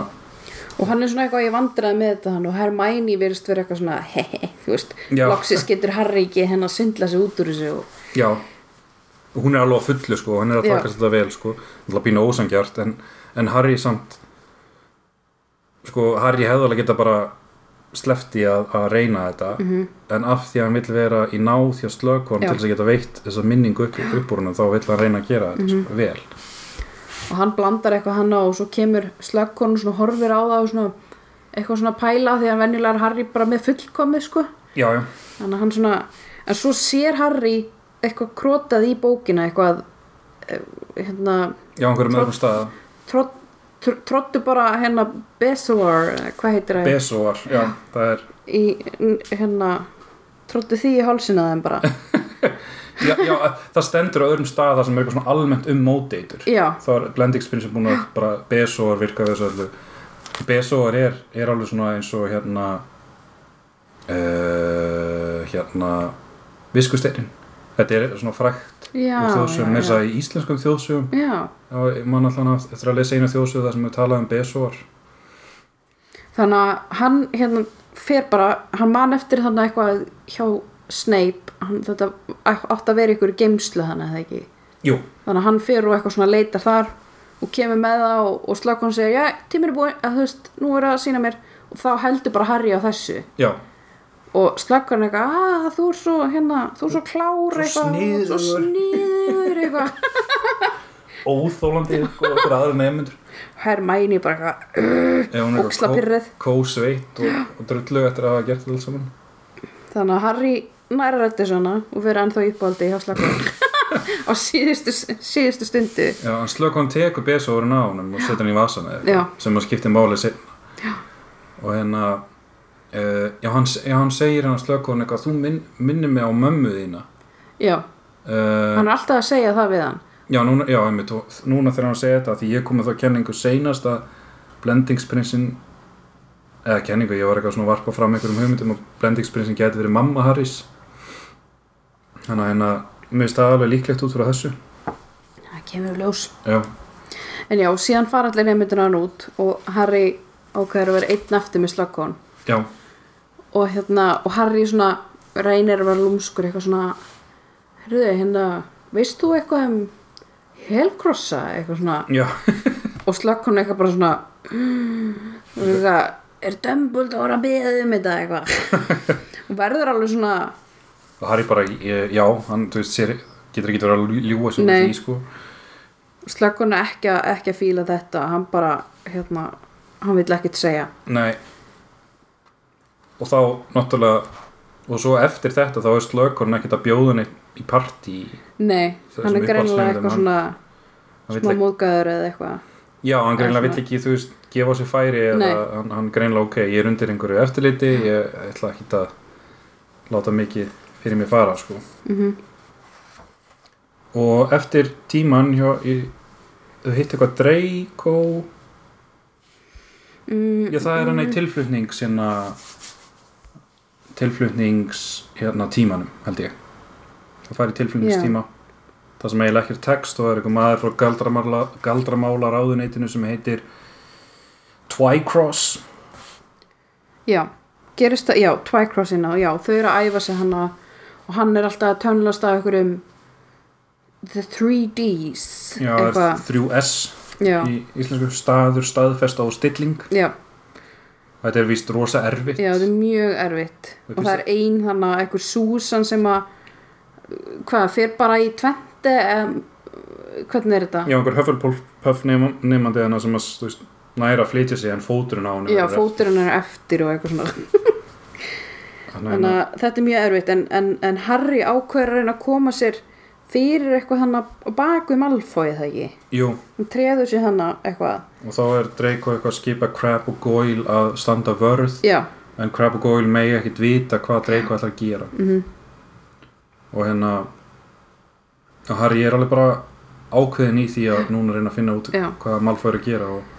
S1: og hann er svona eitthvað ég vandraði með þetta hann og Hermæni virðist vera eitthvað svona hehe, þú veist,
S2: Já.
S1: loksis getur Harry ekki henn að syndla sig út úr þessu og,
S2: já, og hún er alveg á fullu sko, og hann er að
S1: Já.
S2: takast þetta vel sko, það er býna ósangjart en, en Harry samt sko, Harry hefði alveg geta bara slefti að, að reyna þetta
S1: mhm,
S2: en af því að hann vill vera í náð hjá slökon
S1: Já.
S2: til þess að geta veitt þessa minningu upp, upp úr hann þá vill hann reyna að gera þetta mm
S1: Mhm.
S2: vel
S1: og hann blandar eitthvað hann á og svo kemur slagkorn og svona horfir á það og svona eitthvað svona pæla því að venjulega er Harry bara með fullkomið sko
S2: já, já,
S1: þannig að hann svona en svo sér Harry eitthvað krótað í bókina eitthvað eh, hérna
S2: já, einhverjum
S1: Svo-
S2: öðrum stað
S1: trott, tr- trottu bara hérna Besor, eh, hvað heitir það
S2: Besóar, já, það er
S1: í, n- hérna trottu því í hálsina á þeim bara
S2: já, já, það stendur á öðrum stað þar sem er eitthvað svona almennt um móteitur
S1: já,
S2: þá er blendingspinn sem búin að bara Besóar virka við þessu öllu Besóar er, er alveg svona eins og hérna uh, hérna viskusteirinn þetta er svona frækt
S1: já,
S2: úr þjóðsögum,
S1: já,
S2: með þess
S1: já.
S2: að í íslenskum þjóðsögum
S1: já
S2: Já, ég man allan að eftir að lesa einu þjóðsöðu þar sem við talaði um Besor
S1: þannig að hann hérna fer bara, hann man eftir þannig eitthvað hjá Snape hann, þetta átt að vera ykkur geimslu þannig að það ekki
S2: Jú,
S1: þannig að hann fer og eitthvað svona leitar þar og kemur með það og, og Slughorn segir já, tímur er búin, að þú veist, nú er það að sína mér og þá heldur bara Harry á þessu
S2: já,
S1: og Slughorn eitthvað, að þú er svo hérna, þú er svo klár eitthvað
S2: Svo
S1: og svo
S2: sniðugur."
S1: sniður
S2: [LAUGHS]
S1: eitthvað
S2: óþólandi sko, fyrir aðra nefnendur
S1: Hermæni bara eitthvað
S2: Ef hún er
S1: Óksla pirruð.
S2: kósveitt og, og drullu eftir að hafa gert þetta alls saman
S1: þannig að Harry næra rætti svona og verið ennþá í uppáldi hjá
S2: [LAUGHS]
S1: Slughorn á síðustu, síðustu stundu
S2: Já, en slök hann tekur Besorin á honum og setur hann í vasan eða
S1: Já.
S2: eitthvað sem að skipti máli seinna og hérna uh, já, hann, já, hann segir hann slök hann eitthvað þú minn, minnir mig á mömmu þína
S1: já,
S2: uh,
S1: hann er alltaf að segja það við hann
S2: Já, núna, já, einmitt, og núna þegar hann segir þetta því ég kom með þá kenningu seinast að blendingsprinsin eða kenningu, ég var eitthvað svona að varpa fram einhverjum hugmyndum og blendingsprinsin geti verið mamma Harrys þannig að hérna, mér finnst það alveg líklegt út frá þessu
S1: það kemur í ljós
S2: Já,
S1: En já, síðan fara allir nefndur hann út og Harry ákveður að vera einn eftir með slaggón
S2: já,
S1: og hérna, og Harry svona reynir að vera lúmskur eitthvað svona herruðu, hérna, veist þú eitthvað um helkrossa eitthvað svona
S2: já,
S1: og slaggón eitthvað bara svona mm, og eitthvað, er dömbult að vera að beða um þetta eitthvað
S2: [LAUGHS]
S1: og verður alveg svona
S2: og Harry bara ég, já, hann, þú veist, sér, getur ekki verið að ljúa sem
S1: Nei.
S2: því, sko
S1: slaggón er ekki, að- ekki að fíla þetta hann bara, hérna hann vill ekkert segja
S2: Nei og þá náttúrulega og svo eftir þetta þá er slökkurinn ekkert að bjóða neitt í partí
S1: Nei, hann er
S2: Það er svona
S1: greinilega
S2: uppáhaldslögin,
S1: eitthvað
S2: hann-
S1: svona
S2: hann vill
S1: smá
S2: ekki,
S1: móðgæður eða eitthvað
S2: já, hann greinlega
S1: svona-
S2: vill ekki þú veist, gefa á sig færi eða
S1: Nei.
S2: hann, hann greinlega ok, ég er undir einhverju eftirliti ég ætla ekki að láta mikið fyrir mig fara sko.
S1: mm -hmm.
S2: og eftir tíman hjá, ég, þau hitt eitthvað Draco
S1: mm,
S2: já, það er hann í tilflutning sinna
S1: Mm-hmm.
S2: tilflutnings hérna tímanum, held ég það fær í tilflutningstíma það sem eiginlega ekkert text og það er eitthvað maður frá galdramála, galdramála ráðuneytinu sem heitir Twycross
S1: já, gerist það, já, Twycrossina já, þau eru að æfa sig hana og hann er alltaf að tönlast að ykkur um the 3Ds
S2: já, það er þrjú S
S1: já,
S2: í íslensku staður, staðfesta og stilling
S1: já,
S2: þetta er víst rosa erfitt
S1: já, þetta er mjög erfitt og
S2: Mér
S1: það
S2: finnst
S1: er ein þannig að einhver Susan sem að hvað, fer bara í tvente um, hvernig er þetta?
S2: Já, einhver höfðulpöf nefnandi hana sem að þú veist, næra að flytja sig en fóturinn á hann
S1: já fóturinn er eftir og eitthvað svona
S2: hann
S1: þannig að þetta er mjög erfitt en, en, en Harry ákveður að reyna að koma sér fyrir eitthvað hann á baku Malfoy er það ekki,
S2: Jú,
S1: hann treður sér hann eitthvað,
S2: og þá er Draco eitthvað að skipa Crab og Goyle að standa vörð
S1: já,
S2: en Crab og Goyle megi ekkit vita hvað Draco ætlar að gera
S1: mhm,
S2: og hérna og Harry er alveg bara ákveðin í því að núna reyna að finna út
S1: Já.
S2: hvað Malfoy er að gera og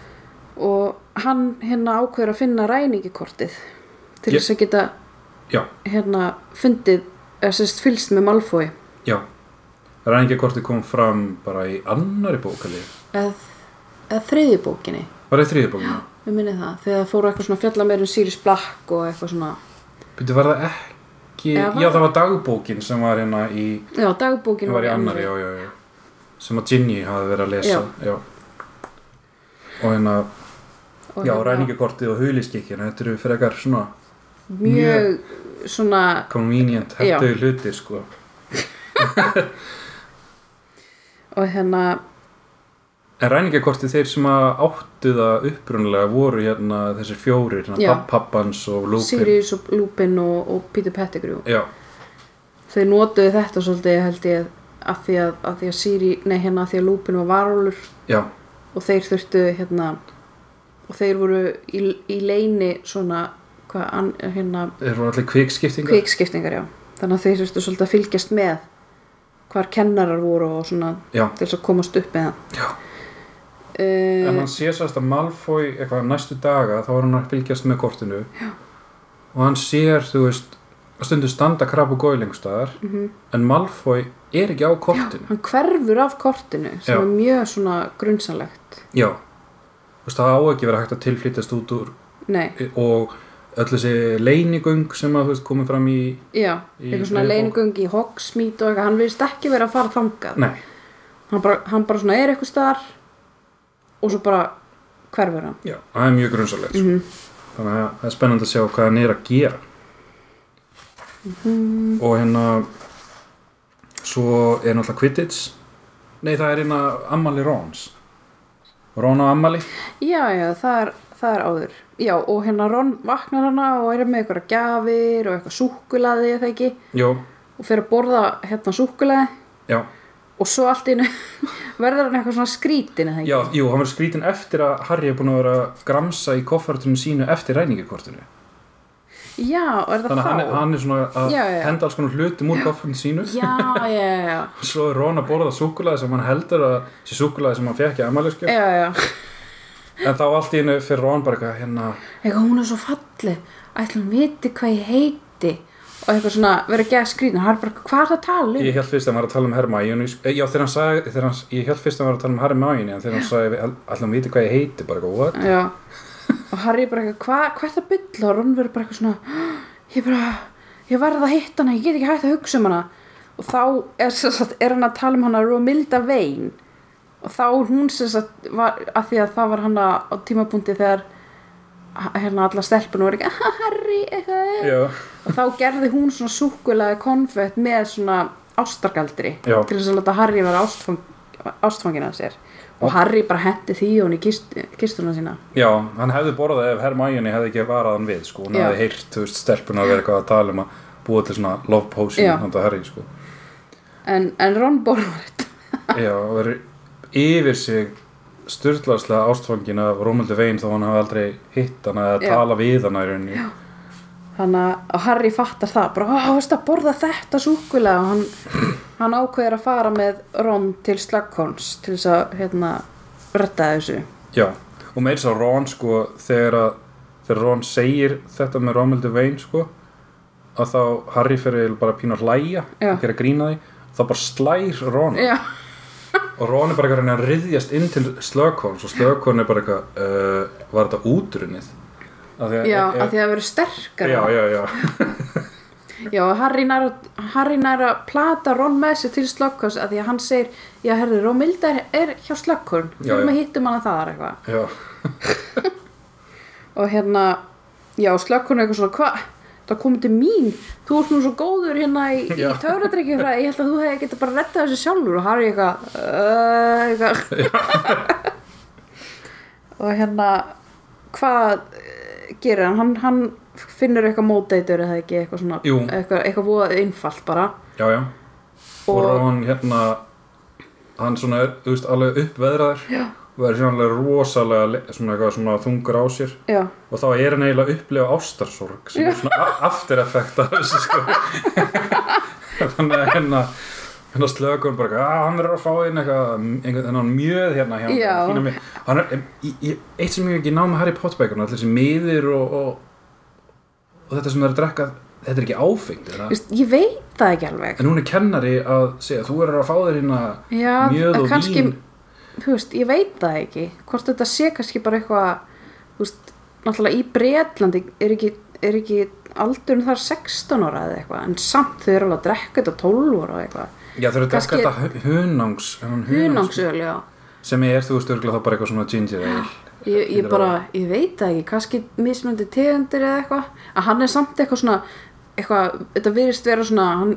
S1: og hann hérna ákveður að finna ræningikortið til
S2: Ég-
S1: þess að geta
S2: Já.
S1: hérna fundið, eða sérst fylst með Malfoy
S2: já Ræningjakorti kom fram bara í annari bókali
S1: eða, eða þriðju bókinni
S2: bara í þriði bókina
S1: við minnið það, þegar það fóru eitthvað svona fjalla meir um Sirius Black og eitthvað svona
S2: Býttu var það ekki
S1: Eða var-
S2: Já, það var dagbókin sem var hérna í
S1: já, dagbókin
S2: Það var í annari, já, já, já sem að Ginny hafði verið að lesa já. og hérna, já,
S1: hérna
S2: ræningakortið og huliskikkin, þetta eru frekar svona
S1: mjög svona
S2: convenient,
S1: Já.
S2: henduðu hlutir sko.
S1: og hérna,
S2: en ræningakortið þeir sem að áttu það upprunalega voru hérna þessir fjórir,
S1: Já.
S2: hérna, pappans og lúpin
S1: Sirius og Lupin og, og Peter Pettigrew
S2: já,
S1: þau notuðu þetta svolítið held ég af því að, af því að Siri, nei hérna af því að Lupin var varulur
S2: já,
S1: og þeir þurftu hérna og þeir voru í, í leini svona, hvað, an- hérna
S2: þeir voru allir kvikskiptingar
S1: kvikskiptingar, já þannig að þeir þurftu svolítið að fylgjast með hvar kennarar voru og svona
S2: já,
S1: til þess að komast upp með það
S2: Já. en
S1: uh,
S2: hann sé sérst að Malfoy eitthvað næstu daga, þá var hann að fylgjast með kortinu já. og hann sér, þú veist að stundu standa krab og góilengstaðar en Malfoy er ekki á kortinu
S1: mhm. hann hverfur af kortinu sem
S2: Já.
S1: er mjög svona grunnsanlegt
S2: já, þú veist það á ekki verið hægt að tilflytjast út úr
S1: nei,
S2: og öll þessi leinigöng sem að þú veist komið fram í
S1: já,
S2: Í
S1: eitthvað svona
S2: þriðju bók.
S1: leinugung í Hogsmeade og eitthvað, hann virðist ekki vera að fara þangað
S2: nei,
S1: hann bara, hann bara svona er eitthvað staðar og svo bara hverfur hann
S2: já, það er mjög grunnsalegt mm
S1: Mhm.
S2: þannig að það er spennandi að sjá hvað hann er að gera
S1: Mhm.
S2: og hérna svo er náttúrulega Quidditch nei það er hérna Amali Róns Rón á Amali
S1: já, já, það er, það er áður já, og hérna Ron vaknar hana og er með eitthvað gjafir og eitthvað súkkulaði eða ekki,
S2: Jó,
S1: og fer að borða hérna súkkulaði
S2: já,
S1: og svo allt í einu [LAUGHS] verður hann eitthvað svona skrítin eða ekki
S2: já, jú, hann verður skrítin eftir að Harry er búin að vera að gramsa í koffartunum sínu eftir ræningakortinu
S1: já, er það
S2: Þannig
S1: þá?
S2: að hann er, hann er svona að
S1: Já, já, já.
S2: henda alls konar hlutum úr koffartunum sínu
S1: já, já, já,
S2: [LAUGHS]
S1: já
S2: Svo er Rón að borða súkulaði sem hann heldur að sé súkulaði sem hann fekk í amaliskjöf
S1: já, já. Eh.
S2: En þá allt í einu fyrir Rón bara eitthvað hérna
S1: eitthvað hún er svo falleg ætla hún viti hvað ég heiti og eitthvað svona verið að geða skrýtin hann er bara hvað er það að tala um
S2: Ég held fyrst að hann var að tala um Hermæjun Já þegar hann sagði þegar hann, Ég held fyrst að hann var að tala um Hermæjun En þegar hann sagði allir hann viti hvað ég heiti bara eitthvað what?
S1: já. og Harry bara eitthvað hvað hva er það að bylla og Ron verið bara eitthvað svona ég bara ég verð að hitta hana ég get ekki hægt að hugsa um hana og þá er, sem sagt, er hann að tala um hana Romilda Vane og þá er hún sem sagt var, að því að það var hana á tímapunkti þegar hérna alla stelpunum voru ekki Harry eitthvað
S2: Já,
S1: og þá gerði hún svona súkulaði konfett með svona ástargaldri
S2: Já.
S1: til þess að láta Harry vera ástfang, ástfangin að sér og Harry bara hendi því og hún í kist, kistuna sína
S2: já hann hefði borðað ef Hermæjun hefði ekki varað hann við sko Hún
S1: Já.
S2: hefði heyrt þú veist stelpuna að vera eitthvað að tala um að búa til svona love potion
S1: Já.
S2: handa Harry sko
S1: en, en Ron Bormrit
S2: Já, og verður yfir sig styrlaðslega ástfangin af Rómuldu Vein þó hann hafi aldrei hitt hana eða
S1: Já.
S2: tala við hana í rauninni.
S1: þannig að- að Harry fattar það bara, á, veist að borða þetta súkulega og hann, hann ákveður að fara með Ron til Slagkorns til þess að, hérna, rötta þessu
S2: Já, og meir svo Ron sko þegar að þegar Ron segir þetta með Romildu Vein sko að þá Harry fyrir eiginlega bara að pína að hlæja
S1: Já. Eh.
S2: og gera grína því þá bara slær Ron
S1: Já,
S2: og Ron er bara eitthvað að reyna að riðjast inn til Slökkons og Slökkon er bara eitthvað uh, var þetta útrunnið að því að,
S1: já,
S2: e- e-
S1: að því að vera sterkar
S2: já, já, já,
S1: Já, og Harry nær, að- Harry nær að plata Ron með sér til Slughorns að því að hann segir, já, herri, Romilda er, er hjá Slughorn,
S2: Já,
S1: fyrir
S2: já.
S1: að hittum hana þar eitthvað.
S2: já.
S1: Og hérna, já, Slughorn er eitthvað svona, hva? Það komið til mín, þú ert nú svo góður hérna í, í
S2: Já.
S1: töfradrykkjufræði, ég held að þú hefði getað bara rettað þessu sjálfur og Harry eitthvað, uh, eitthvað. [LAUGHS] og hérna, hvað eh, gerir hann? Hann, hann finnur eitthvað móteitur eða ekki, eitthvað svona,
S2: Jú.
S1: eitthvað, eitthvað voða einfalt bara.
S2: já, já. og Ron hérna hann svona er, þú veist, alveg uppveðraður já. og er svona alveg rosalega le- svona, eitthvað, svona þungur á sér
S1: Já,
S2: og þá er hann eiginlega að upplega ástarsorg sem er svona a- after effect af þessu
S1: [LAUGHS]
S2: sko þannig að hérna hérna slökum bara, að hann verður að fá inn eitthvað einhvern þennan mjöð hérna hjá
S1: Já.
S2: honum, fína mjöð." hann er, í, í, eitt sem ég hef ekki náð með Harry Potter bækurna, allir þessi miðir og, og, og þetta sem það er að drekka þetta er ekki áfengt er það?
S1: Vist, ég veit það ekki alveg
S2: en hún er kennari að segja þú verður að fá þér hérna
S1: Já,
S2: mjöð
S1: að
S2: og
S1: kannski,
S2: vín
S1: þú veist, ég veit það ekki hvort þetta sé kannski bara eitthvað þú veist, náttúrulega í Bretlandi er ekki, er ekki aldurinn þar 16 ára eða eitthvað en samt þau eru alveg að drekka þetta á 12 ára eða eitthvað
S2: já þau eru að drekka
S1: kannski-
S2: þetta hu- hunangs, þennan hunangs
S1: hunangsöl, já
S2: sem er þú veist örgulega þá bara eitthvað svona ginger ale
S1: ég, ég
S2: Þetta er
S1: bara, ég veit það ekki kannski mismöndi tegundir eða eitthvað að hann er samt eitthvað svona eitthvað, þetta virðist vera svona hann,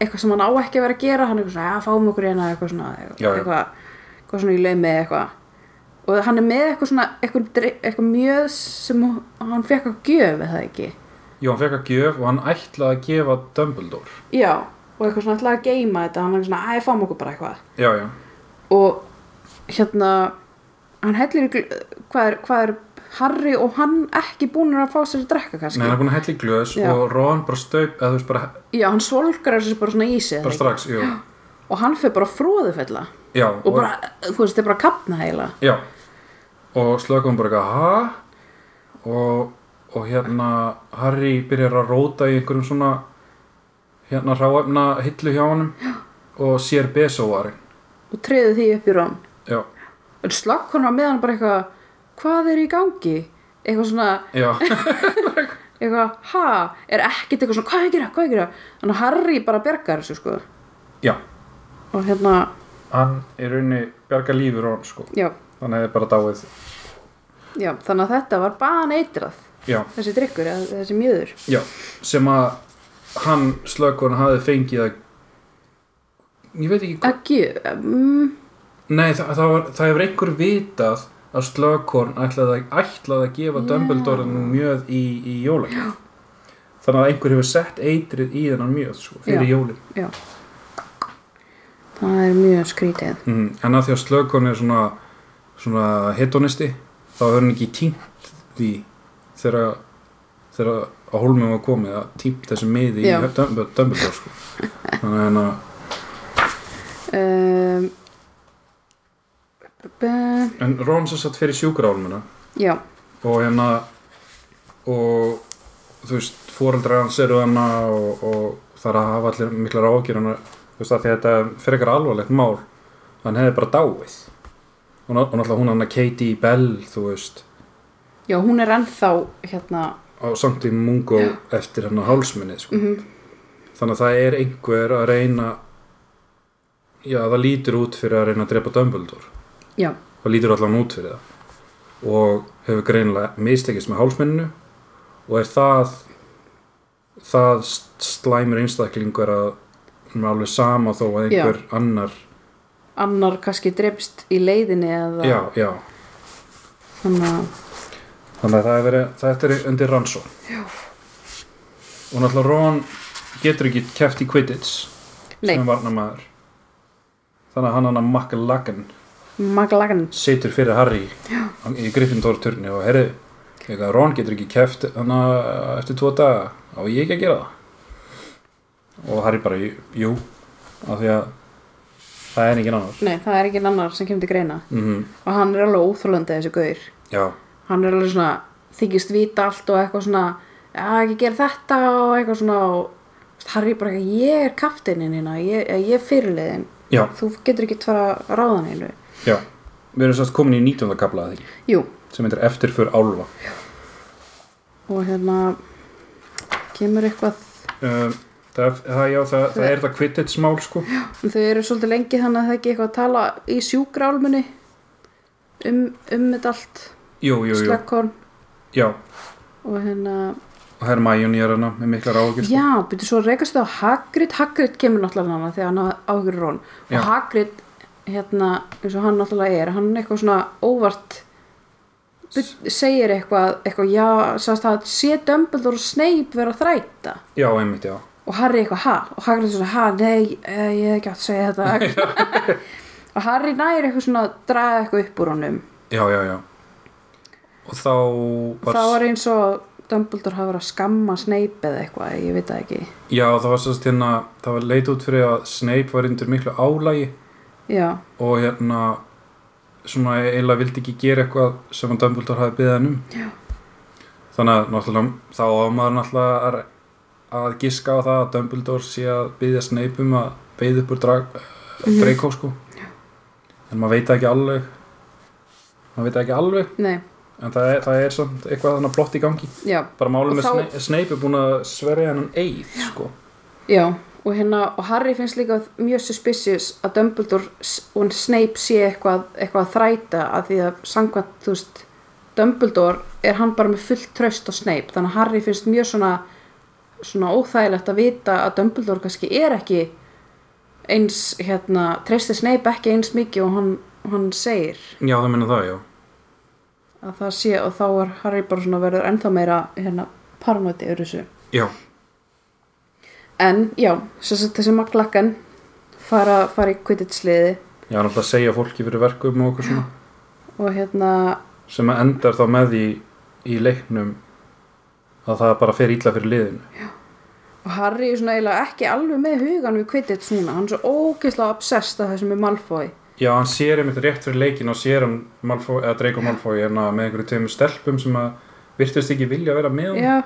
S1: eitthvað sem hann á ekki að vera að gera hann er eitthvað svona, já, fáum okkur hérna eitthvað svona eitthvað,
S2: Já, já.
S1: Eitthvað, eitthvað svona í leimi eitthvað og hann er með eitthvað svona eitthvað, dri- eitthvað mjög sem hún- hann fekk að gjöf eða ekki
S2: Já, hann fekk að gjöf og hann ætlaði að gefa Dumbledore.
S1: já, og eitthvað svona ætlaði að geima þetta hann er eitthvað svona, æ, fáum okkur bara eitthvað
S2: Já, já.
S1: og hérna hann hellir í gl- hvað er, hvað er Harry og hann ekki búinir að fá sér að drekka kannski
S2: Nei, hann er búin að hella í glös
S1: Já.
S2: og Ron bara staup, eða þú veist, bara,
S1: já, hann solgar þessu bara svona í sig
S2: bara
S1: eða
S2: strax, jú.
S1: ekki? og hann fyrir bara fróðufella
S2: Já.
S1: og bara, þú veist, þetta er bara að kapna heila
S2: Já. Og slökum bara eitthvað, ha? Og, og hérna, Harry byrjar að róta í einhverjum svona, hérna, ráefna hillu hjá honum og sér besóvarinn.
S1: og treði því upp í rám
S2: Já.
S1: en slakk hann var með hann bara eitthvað hvað er í gangi? eitthvað svona,
S2: Já. [LAUGHS]
S1: eitthvað, ha? er ekkert eitthvað svona, hvað er að gera, hvað er að gera? þannig að Harry bara bjargar þessu sko
S2: já.
S1: og hérna,
S2: Hann er rauninni bjarga lífur Ron, sko.
S1: já,
S2: Þannig er bara dáið.
S1: já þannig að þetta var baneitrað
S2: Já.
S1: þessi drikkur, eða þessi mjöður
S2: Já, sem að hann slökun hafi fengið að ég veit ekki hvað
S1: ekki, um,
S2: Nei, það, það, var, það hefur einhver vitað að slökun ætlaði, að- ætlaði að gefa Dumbledore nú mjöð í, í jólagjöf Þannig að einhver hefur sett eitrið í þennan mjöð sko, fyrir
S1: Já.
S2: jólin
S1: já það er mjög skrítið
S2: mm, En að því að slökun er svona, svona hedonisti þá hefur hann ekki tímt því þegar, þegar að hólmum var komið að tímt þessu miði í
S1: Já.
S2: Dumb- Dumbledore sko. Þannig að
S1: um, b-
S2: En Ron sem satt fyrir sjúkrálmuna
S1: já,
S2: og hérna og þú veist, fóreldrar hans eru hana og, og það er að hafa allir miklar ágjur hana, þú veist, af því að þetta er frekar alvarlegt mál, hann hefði bara dáið og, ná- og náttúrulega hún hann Katie Bell, þú veist
S1: já, hún er ennþá hérna,
S2: á samt í mungo eftir hennar hálsminni sko. þannig að það er einhver að reyna já, það lítur út fyrir að reyna að drepa Dumbledore
S1: já,
S2: það lítur allan út fyrir það og hefur greinilega mistekist með hálsmenninu og er það það st- slæmur einstaklingur að hún er alveg sama þó að einhver annar
S1: annar kannski drefst í leiðinni eða
S2: já, já,
S1: þannig að
S2: þannig að það er verið, þetta er undir rannsó já. og náttúrulega Ron getur ekki keft í Quidditch
S1: Nei.
S2: sem er varnamaður þannig að hann hann að makka lagan
S1: Maglagan
S2: situr fyrir Harry Já. í Gryffindor-turni og herri eitthvað, Ron getur ekki keft hann að- eftir tvo daga á ég ekki að gera það og Harry bara, "Jú, jú af því að það er engin annar
S1: Nei, það er ekki annar sem kemur til greina
S2: mm
S1: og hann er alveg óþólandi þessi gaur
S2: Já,
S1: hann er alveg svona þykist vita allt og eitthvað svona að ekki gera þetta og eitthvað svona og veist, Harry bara eitthvað, ég er kaftininn hérna, ég, eða ég er fyrirliðin
S2: já,
S1: þú getur ekki tvara ráðan einu
S2: já Við erum sérst komin í 19. kapla að því
S1: jú,
S2: sem heitir eftir fyrir álfa
S1: og hérna kemur eitthvað
S2: um, það, það, já, það, það er þetta kvittitsmál sko já.
S1: en þau eru svolítið lengi þannig að það er ekki eitthvað að tala í sjúkrálmunni um, um þetta allt
S2: Jú, jú, jú,
S1: slagkorn
S2: já
S1: og hérna,
S2: og Hermæjun er hana með mikla ráðgjur sko.
S1: já, byrju svo rekast þau á Hagrid, Hagrid kemur náttúrulega hana þegar hann áhugur rón
S2: Já.
S1: og Hagrid, hérna, eins og hann náttúrulega er, hann er eitthvað svona óvart bu- segir eitthvað, eitthvað, já, sagðist það sé Dumbledore og Snape vera að þræta
S2: já, einmitt, já
S1: og Harry eitthvað, ha, og Hagrid svona, ha, nei, eh, ég hef ekki átt að segja þetta [LAUGHS] og Harry nær eitthvað svona að draga eitthvað upp úr honum
S2: Já, já, já Og þá var,
S1: það var eins og Dumbledore hafa verið að skamma Snape eða eitthvað, ég veit það ekki
S2: Já, það var sérst hérna Það var leit út fyrir að Snape var undir miklu álægi
S1: já,
S2: og hérna svona eiginlega vildi ekki gera eitthvað sem að Dumbledore hafi beðið hann um já. þannig að náttúrulega þá á maður náttúrulega að, að giska á það að Dumbledore sé að byggja Snape um að beigða upp úr drag, mm
S1: Mhm.
S2: Draco sko en maður veit það ekki alveg maður veit það ekki alveg
S1: nei,
S2: en það er, það er samt eitthvað þannig blott í gangi
S1: já
S2: bara málum
S1: Og
S2: með
S1: þá-
S2: Snape, Snape er búin að sverja hennan eið sko
S1: já, og hérna, og Harry finnst líka mjög suspicious að Dumbledore s- og Snape sé eitthvað, eitthvað að þræta að því að samkvæmt, þú veist Dumbledore er hann bara með fullt tröst á Snape, þannig að Harry finnst mjög svona svona óþægilegt að vita að Dumbledore kannski er ekki eins, hérna, treysti Snape ekki eins mikið og hann, hann segir
S2: já það meina það já
S1: að það sé og þá er Harry bara svona verður ennþá meira hérna parnóti yfir þessu
S2: já,
S1: en já, sem sagt þessi maglakkan fara, fara í kvittitsliði
S2: já náttúrulega að segja fólki fyrir verkum og okkur svona
S1: og hérna
S2: sem að endar þá með því í leiknum að það bara fer illa fyrir liðinu
S1: og Harry er svona eiginlega ekki alveg með hugan við kvittits núna, hann er svo ógeðslega obsessed af þessum með Malfoy
S2: já, hann sér einmitt rétt fyrir leikin og sér hann Malfoy, eða Draco Malfoy hérna, með einhverju tveimur stelpum sem að virtust ekki vilja vera með hann
S1: já,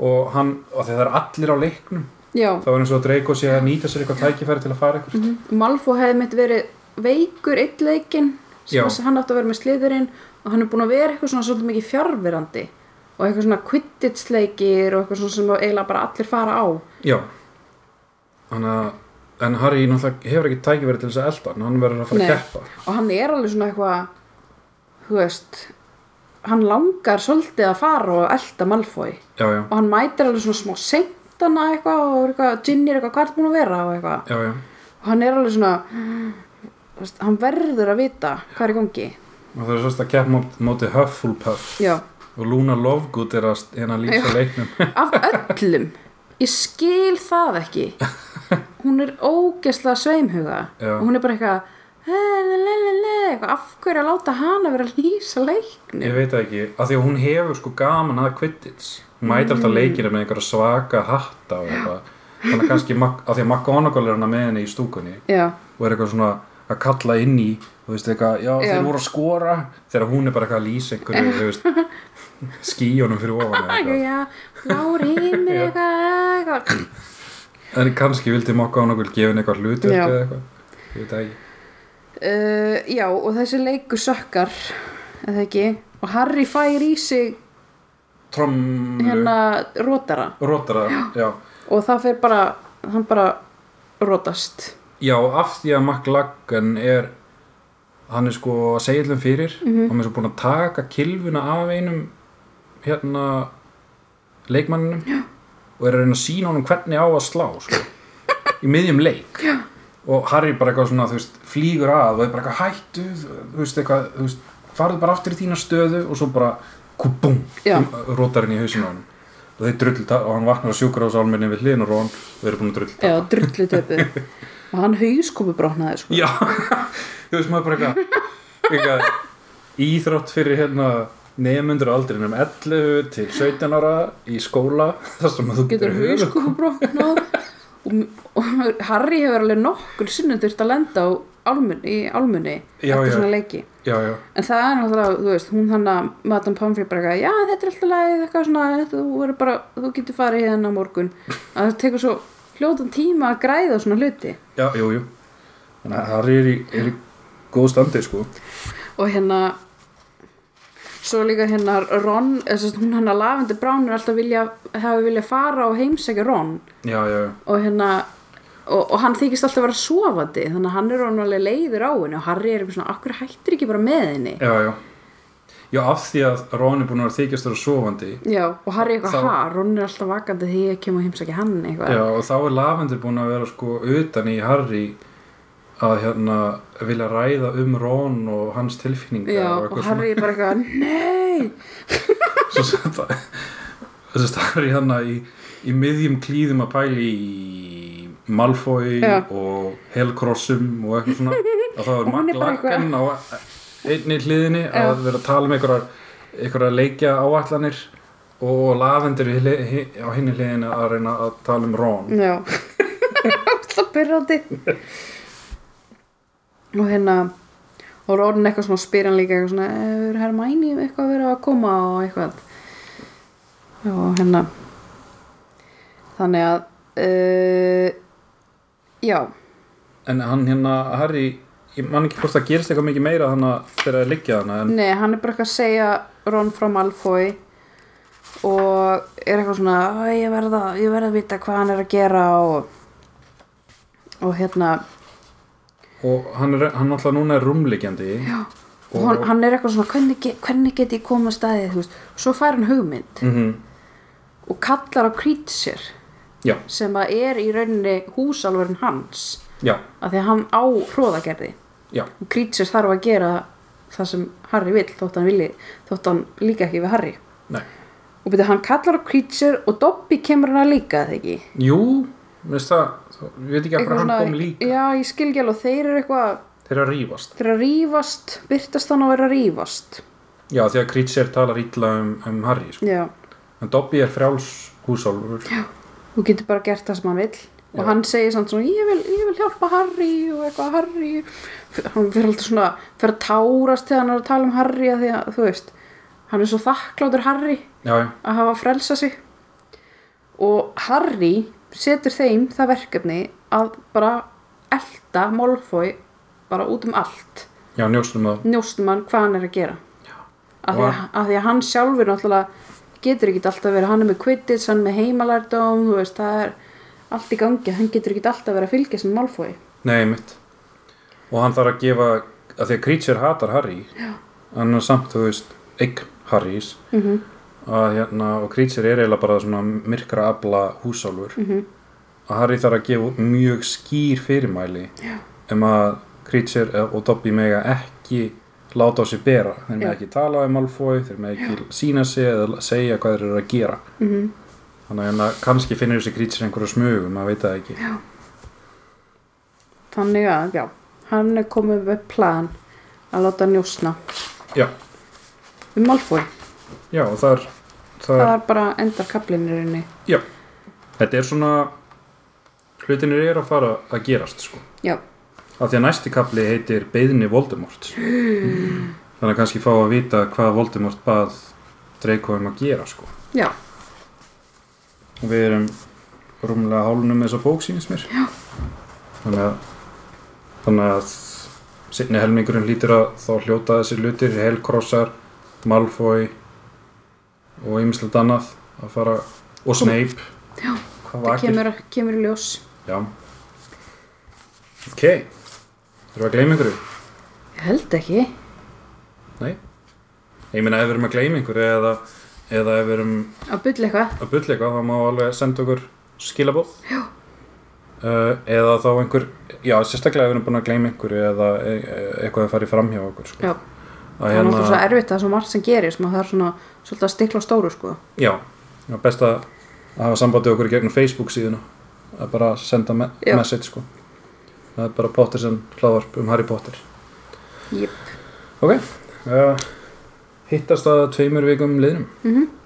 S2: og, hann, og þegar það er allir á leiknum
S1: já,
S2: þá er eins og Draco sé að nýta sér eitthvað tækifæri til að fara eitthvað
S1: Mhm. Malfoy hefði mitt verið veikur eitt leikinn
S2: Já.
S1: sem að hann átti að vera með sliðurinn og hann er búin að vera eitthvað svona svolítið mikið fjárverandi og eitthvað svona kvittitsleikir og eitthvað svona sem eiginlega bara allir fara á
S2: já þannig að en Harry náttúrulega hefur ekki tækifæri til þess að elda hann, hann verður að fara
S1: Nei.
S2: að keppa
S1: og hann er alveg svona eitthvað þú veist hann langar svolítið að fara og elda Malfoy
S2: já, já,
S1: og hann mætir alveg svona smá seintana eitthvað og er eitthvað, Ginny er eitthvað hvað er búin að vera og eitthvað
S2: já, já
S1: og hann er alveg svona þú veist, hann verður að vita hvað er í gangi
S2: og það er svolítið að keppa mót- móti Hufflepuff
S1: já,
S2: og Luna Lovegood er að st- hérna lýsa leiknum
S1: af öllum ég skil það ekki hún er ógeðslega sveimhuga
S2: Já.
S1: og hún er bara eitthvað "Eh, "Lelelele", eitthvað, af hverju að láta hana vera að lýsa leiknum
S2: Ég veit það ekki, af því að hún hefur sko gaman að Quidditch Hún mætir alltaf leikina með einhverja svaka hatta og eitthvað Þannig að kannski, Mac- af því að McGonagall er hana með henni í stúkunni
S1: já,
S2: og er eitthvað svona að kalla inn í þú veist eitthvað, já,
S1: Já.
S2: þeir voru að skora þegar hún er bara eitthvað að lýsa einhverju þú [LAUGHS] veist, skíjónum fyrir ofan eða
S1: eitthvað,
S2: eitthvað.
S1: já, blár heimir eitthvað, eitthvað.
S2: En kannski vildi McGonagall gefa henni eitthvað hlutu
S1: Já.
S2: eða eitthvað, ég veit það ekki
S1: Uh, já, og þessi leiku sökkar eða ekki, og Harry fær í sig
S2: Trommu, hérna.
S1: hérna rótara
S2: rótara, já
S1: og það fer bara, hann bara rótast
S2: Já, af því að McLaggan er hann er sko að segja allum fyrir hann er svo búin að taka kilfuna af einum hérna leikmanninum Já. og er að reyna að sína honum hvernig á að slá sko, í miðjum leik Já. og Harry bara eitthvað svona þú veist, flýgur að og er bara eitthvað hættu þú veist eitthvað, þú veist, farðu bara aftur í þína stöðu og svo bara kubum,
S1: Já.
S2: rótar henni í hausinu á honum og þeir drullta og hann vaknar á sjúkrahúsálminni við hliðin og rón og eru búin að drullta
S1: eða drullu töpu og hann hauskopu brotnaði sko.
S2: Já, þú [LAUGHS] veist maður bara eitthvað eitthvað íþrótt fyrir hérna nefnundur aldrinum 11 til 17 ára í skóla þar sem að þú
S1: getur
S2: höfuð-
S1: hauskopu brotnað og, og Harry hefur alveg nokkur sinnum þurft að lenda á álmun, í álmunni
S2: Já,
S1: eftir
S2: já.
S1: svona leiki
S2: Já, já,
S1: en það er náttúrulega, þú veist, hún þannig að Madame Pomfrey bara eitthvað, já þetta er alltaf lagið eitthvað svona, þú, verður bara, þú getur farið hérna á morgun, að það tekur svo hljótan tíma að græða á svona hluti
S2: já, jú, jú Þannig að Harry er í, er í góð standi sko
S1: og hérna svo líka hérna Ron eða sem sagt, hún hérna Lavender Brown er alltaf vilja hafi vilja fara og heimsækja Ron
S2: Já, já, já
S1: og hérna og, og hann þykist alltaf vera sofandi þannig að hann er hann alveg leiður á henni og Harry er eitthvað svona, akkur hættir ekki bara með henni
S2: Já, já Já, af því að Rón er búin að vera þykjast vera sofandi
S1: já, og Harry er
S2: Þá-
S1: eitthvað, ha, Ron er alltaf vakandi því ég kem og heimsækja hann eitthvað
S2: Já, og þá er Lavender búin að vera sko utan í Harry að hérna vilja ræða um Rón og hans tilfinningar
S1: Já,
S2: og
S1: og
S2: eitthvað
S1: Harry er bara eitthvað, nei
S2: svo sem það þessi starri hann í, í miðjum klíðum að pæli í Malfoy
S1: Já.
S2: og Helcrossum og eitthvað svona að það
S1: Og
S2: var
S1: hún er bara
S2: maglakkan á einni hliðinni að vera að tala um einhverjar, einhverjar leikja áallanir og lavendur í hli- hi- á hinni hliðinni að reyna að tala um Ron
S1: Já Það pyrrandi Og hérna Og Rónin eitthvað svona spyr hann líka eitthvað svona Hefur Hermæni eitthvað verið að koma og eitthvað Og hérna Þannig að uh, Já
S2: en hann hérna Harry ég man ekki hvort það gerist eitthvað mikið meira þannig að þegar að liggja þarna en
S1: Nei, hann er bara eitthvað að segja Ron frá Malfoy og er eitthvað svona "Æ, ég verða, ég verða að vita hvað hann er að gera og, og hérna
S2: og hann er hann alltaf núna er rúmliggjandi
S1: Mm. Já, og hann, hann er eitthvað svona hvernig, ge- hvernig get ég komið staðið þú veist, svo fær hann hugmynd
S2: mm -hmm.
S1: og kallar á Creature
S2: já,
S1: sem að er í rauninni húsalvarinn hans
S2: já,
S1: af því að hann á hróðagerði
S2: já
S1: og Creature þarf að gera það sem Harry vill þótt hann, vilji, þótt hann líka ekki við Harry
S2: Nei.
S1: og byrja hann kallar á Creature og Dobby kemur hann að líka eða ekki
S2: Jú, minnst það, þá- ég veit ekki af
S1: Eitthvað
S2: hverju hann
S1: svona-
S2: kom líka.
S1: já ég skil ekki alveg og þeir eru eitthvað
S2: Þeir eru að rýfast.
S1: þeir eru að rífast, byrtast hann að vera að rífast
S2: Já, því að Kreatsir talar illa um, um Harry, sko.
S1: já
S2: En Dobby er frjáls húsálfur. Já.
S1: þú getur bara gert það sem hann vill og
S2: Já.
S1: hann segir samt svona ég vil, ég vil hjálpa Harry og eitthvað Harry F- hann fyrir alltaf svona fyrir að tárast þegar hann er að tala um Harry að því að þú veist hann er svo þakklátur Harry
S2: Já, já,
S1: að hafa frelsa sig og Harry setur þeim það verkefni að bara elta Molfoy bara út um allt
S2: já, njóstum það.
S1: njóstum hann hvað hann er að gera af því,
S2: Og
S1: að, af því að hann sjálfur náttúrulega getur ekki alltaf verið, hann er með quidditch hann er með heimalærdóm, þú veist það er allt í gangi, hann getur ekki alltaf verið að fylgja sem Malfoy,
S2: Nei, mitt. Og hann þarf að gefa, að því að Kreatsir hatar Harry. Já. Hann er samt, þú veist, eign Harrys. Mm -hmm. Að hérna, og Kreatsir er eiginlega bara svona myrkra abla húsálfur. Mm -hmm. Að Harry þarf að gefa út mjög skýr fyrirmæli. Já. Um að Kreatsir og Dobby mega ekki láta á sig bera. Þeir mega
S1: Já.
S2: ekki tala um Malfoy, þeir mega ekki sína sig eða segja hvað þeir eru að gera. Mm -hmm. Þannig að hérna, kannski finnir þessi Kreatsir einhverju smugum, maður veit það ekki. Já.
S1: þannig að já, hann er komið með plan að láta hann njósna
S2: Já,
S1: um Malfoy,
S2: já og þar...
S1: það er bara endar kaplinurinni,
S2: Já, þetta er svona hlutinir eru að fara að gerast sko.
S1: já,
S2: af því að næsti kapli heitir Beðni
S1: [GASPS]
S2: Voldemort þannig að kannski fá að vita hvað Voldemort bað Draco um að gera sko.
S1: já
S2: og við erum rúmlega hálunum með þessa bók sínist mér Já. þannig að þannig að sinni helmingurinn lítur að þá hljóta þessir hlutir Helkrossar, Malfoy og ýmislegt annað að fara og Snape
S1: Já,
S2: Hvað
S1: það
S2: vakir?
S1: kemur, kemur í ljós
S2: Já Ok Þurfum við að gleyma einhverju?
S1: ég held ekki,
S2: Nei Ég meina ef við erum að gleyma einhverju eða, eða ef við erum
S1: að bylla eitthvað
S2: að bulla eitthvað þá má alveg senda okkur skilabóð Já Eða þá einhver Já, sérstaklega ef við erum búin að gleyma einhverju eða e e eitthvað að fara fram hjá okkur sko.
S1: já,
S2: Að
S1: það er náttúrulega svo erfitt að það er svo margt sem gerist maður þarf svona, svolítið að stikla á stóru sko
S2: Já Já, best að að hafa sambandið okkur í gegnum Facebook síðuna að bara senda me
S1: Já.
S2: message sko það er bara Potter sem hláðvarp um Harry Potter
S1: Jep.
S2: ok uh, hittast að tveimur vikum liðnum
S1: Mhm.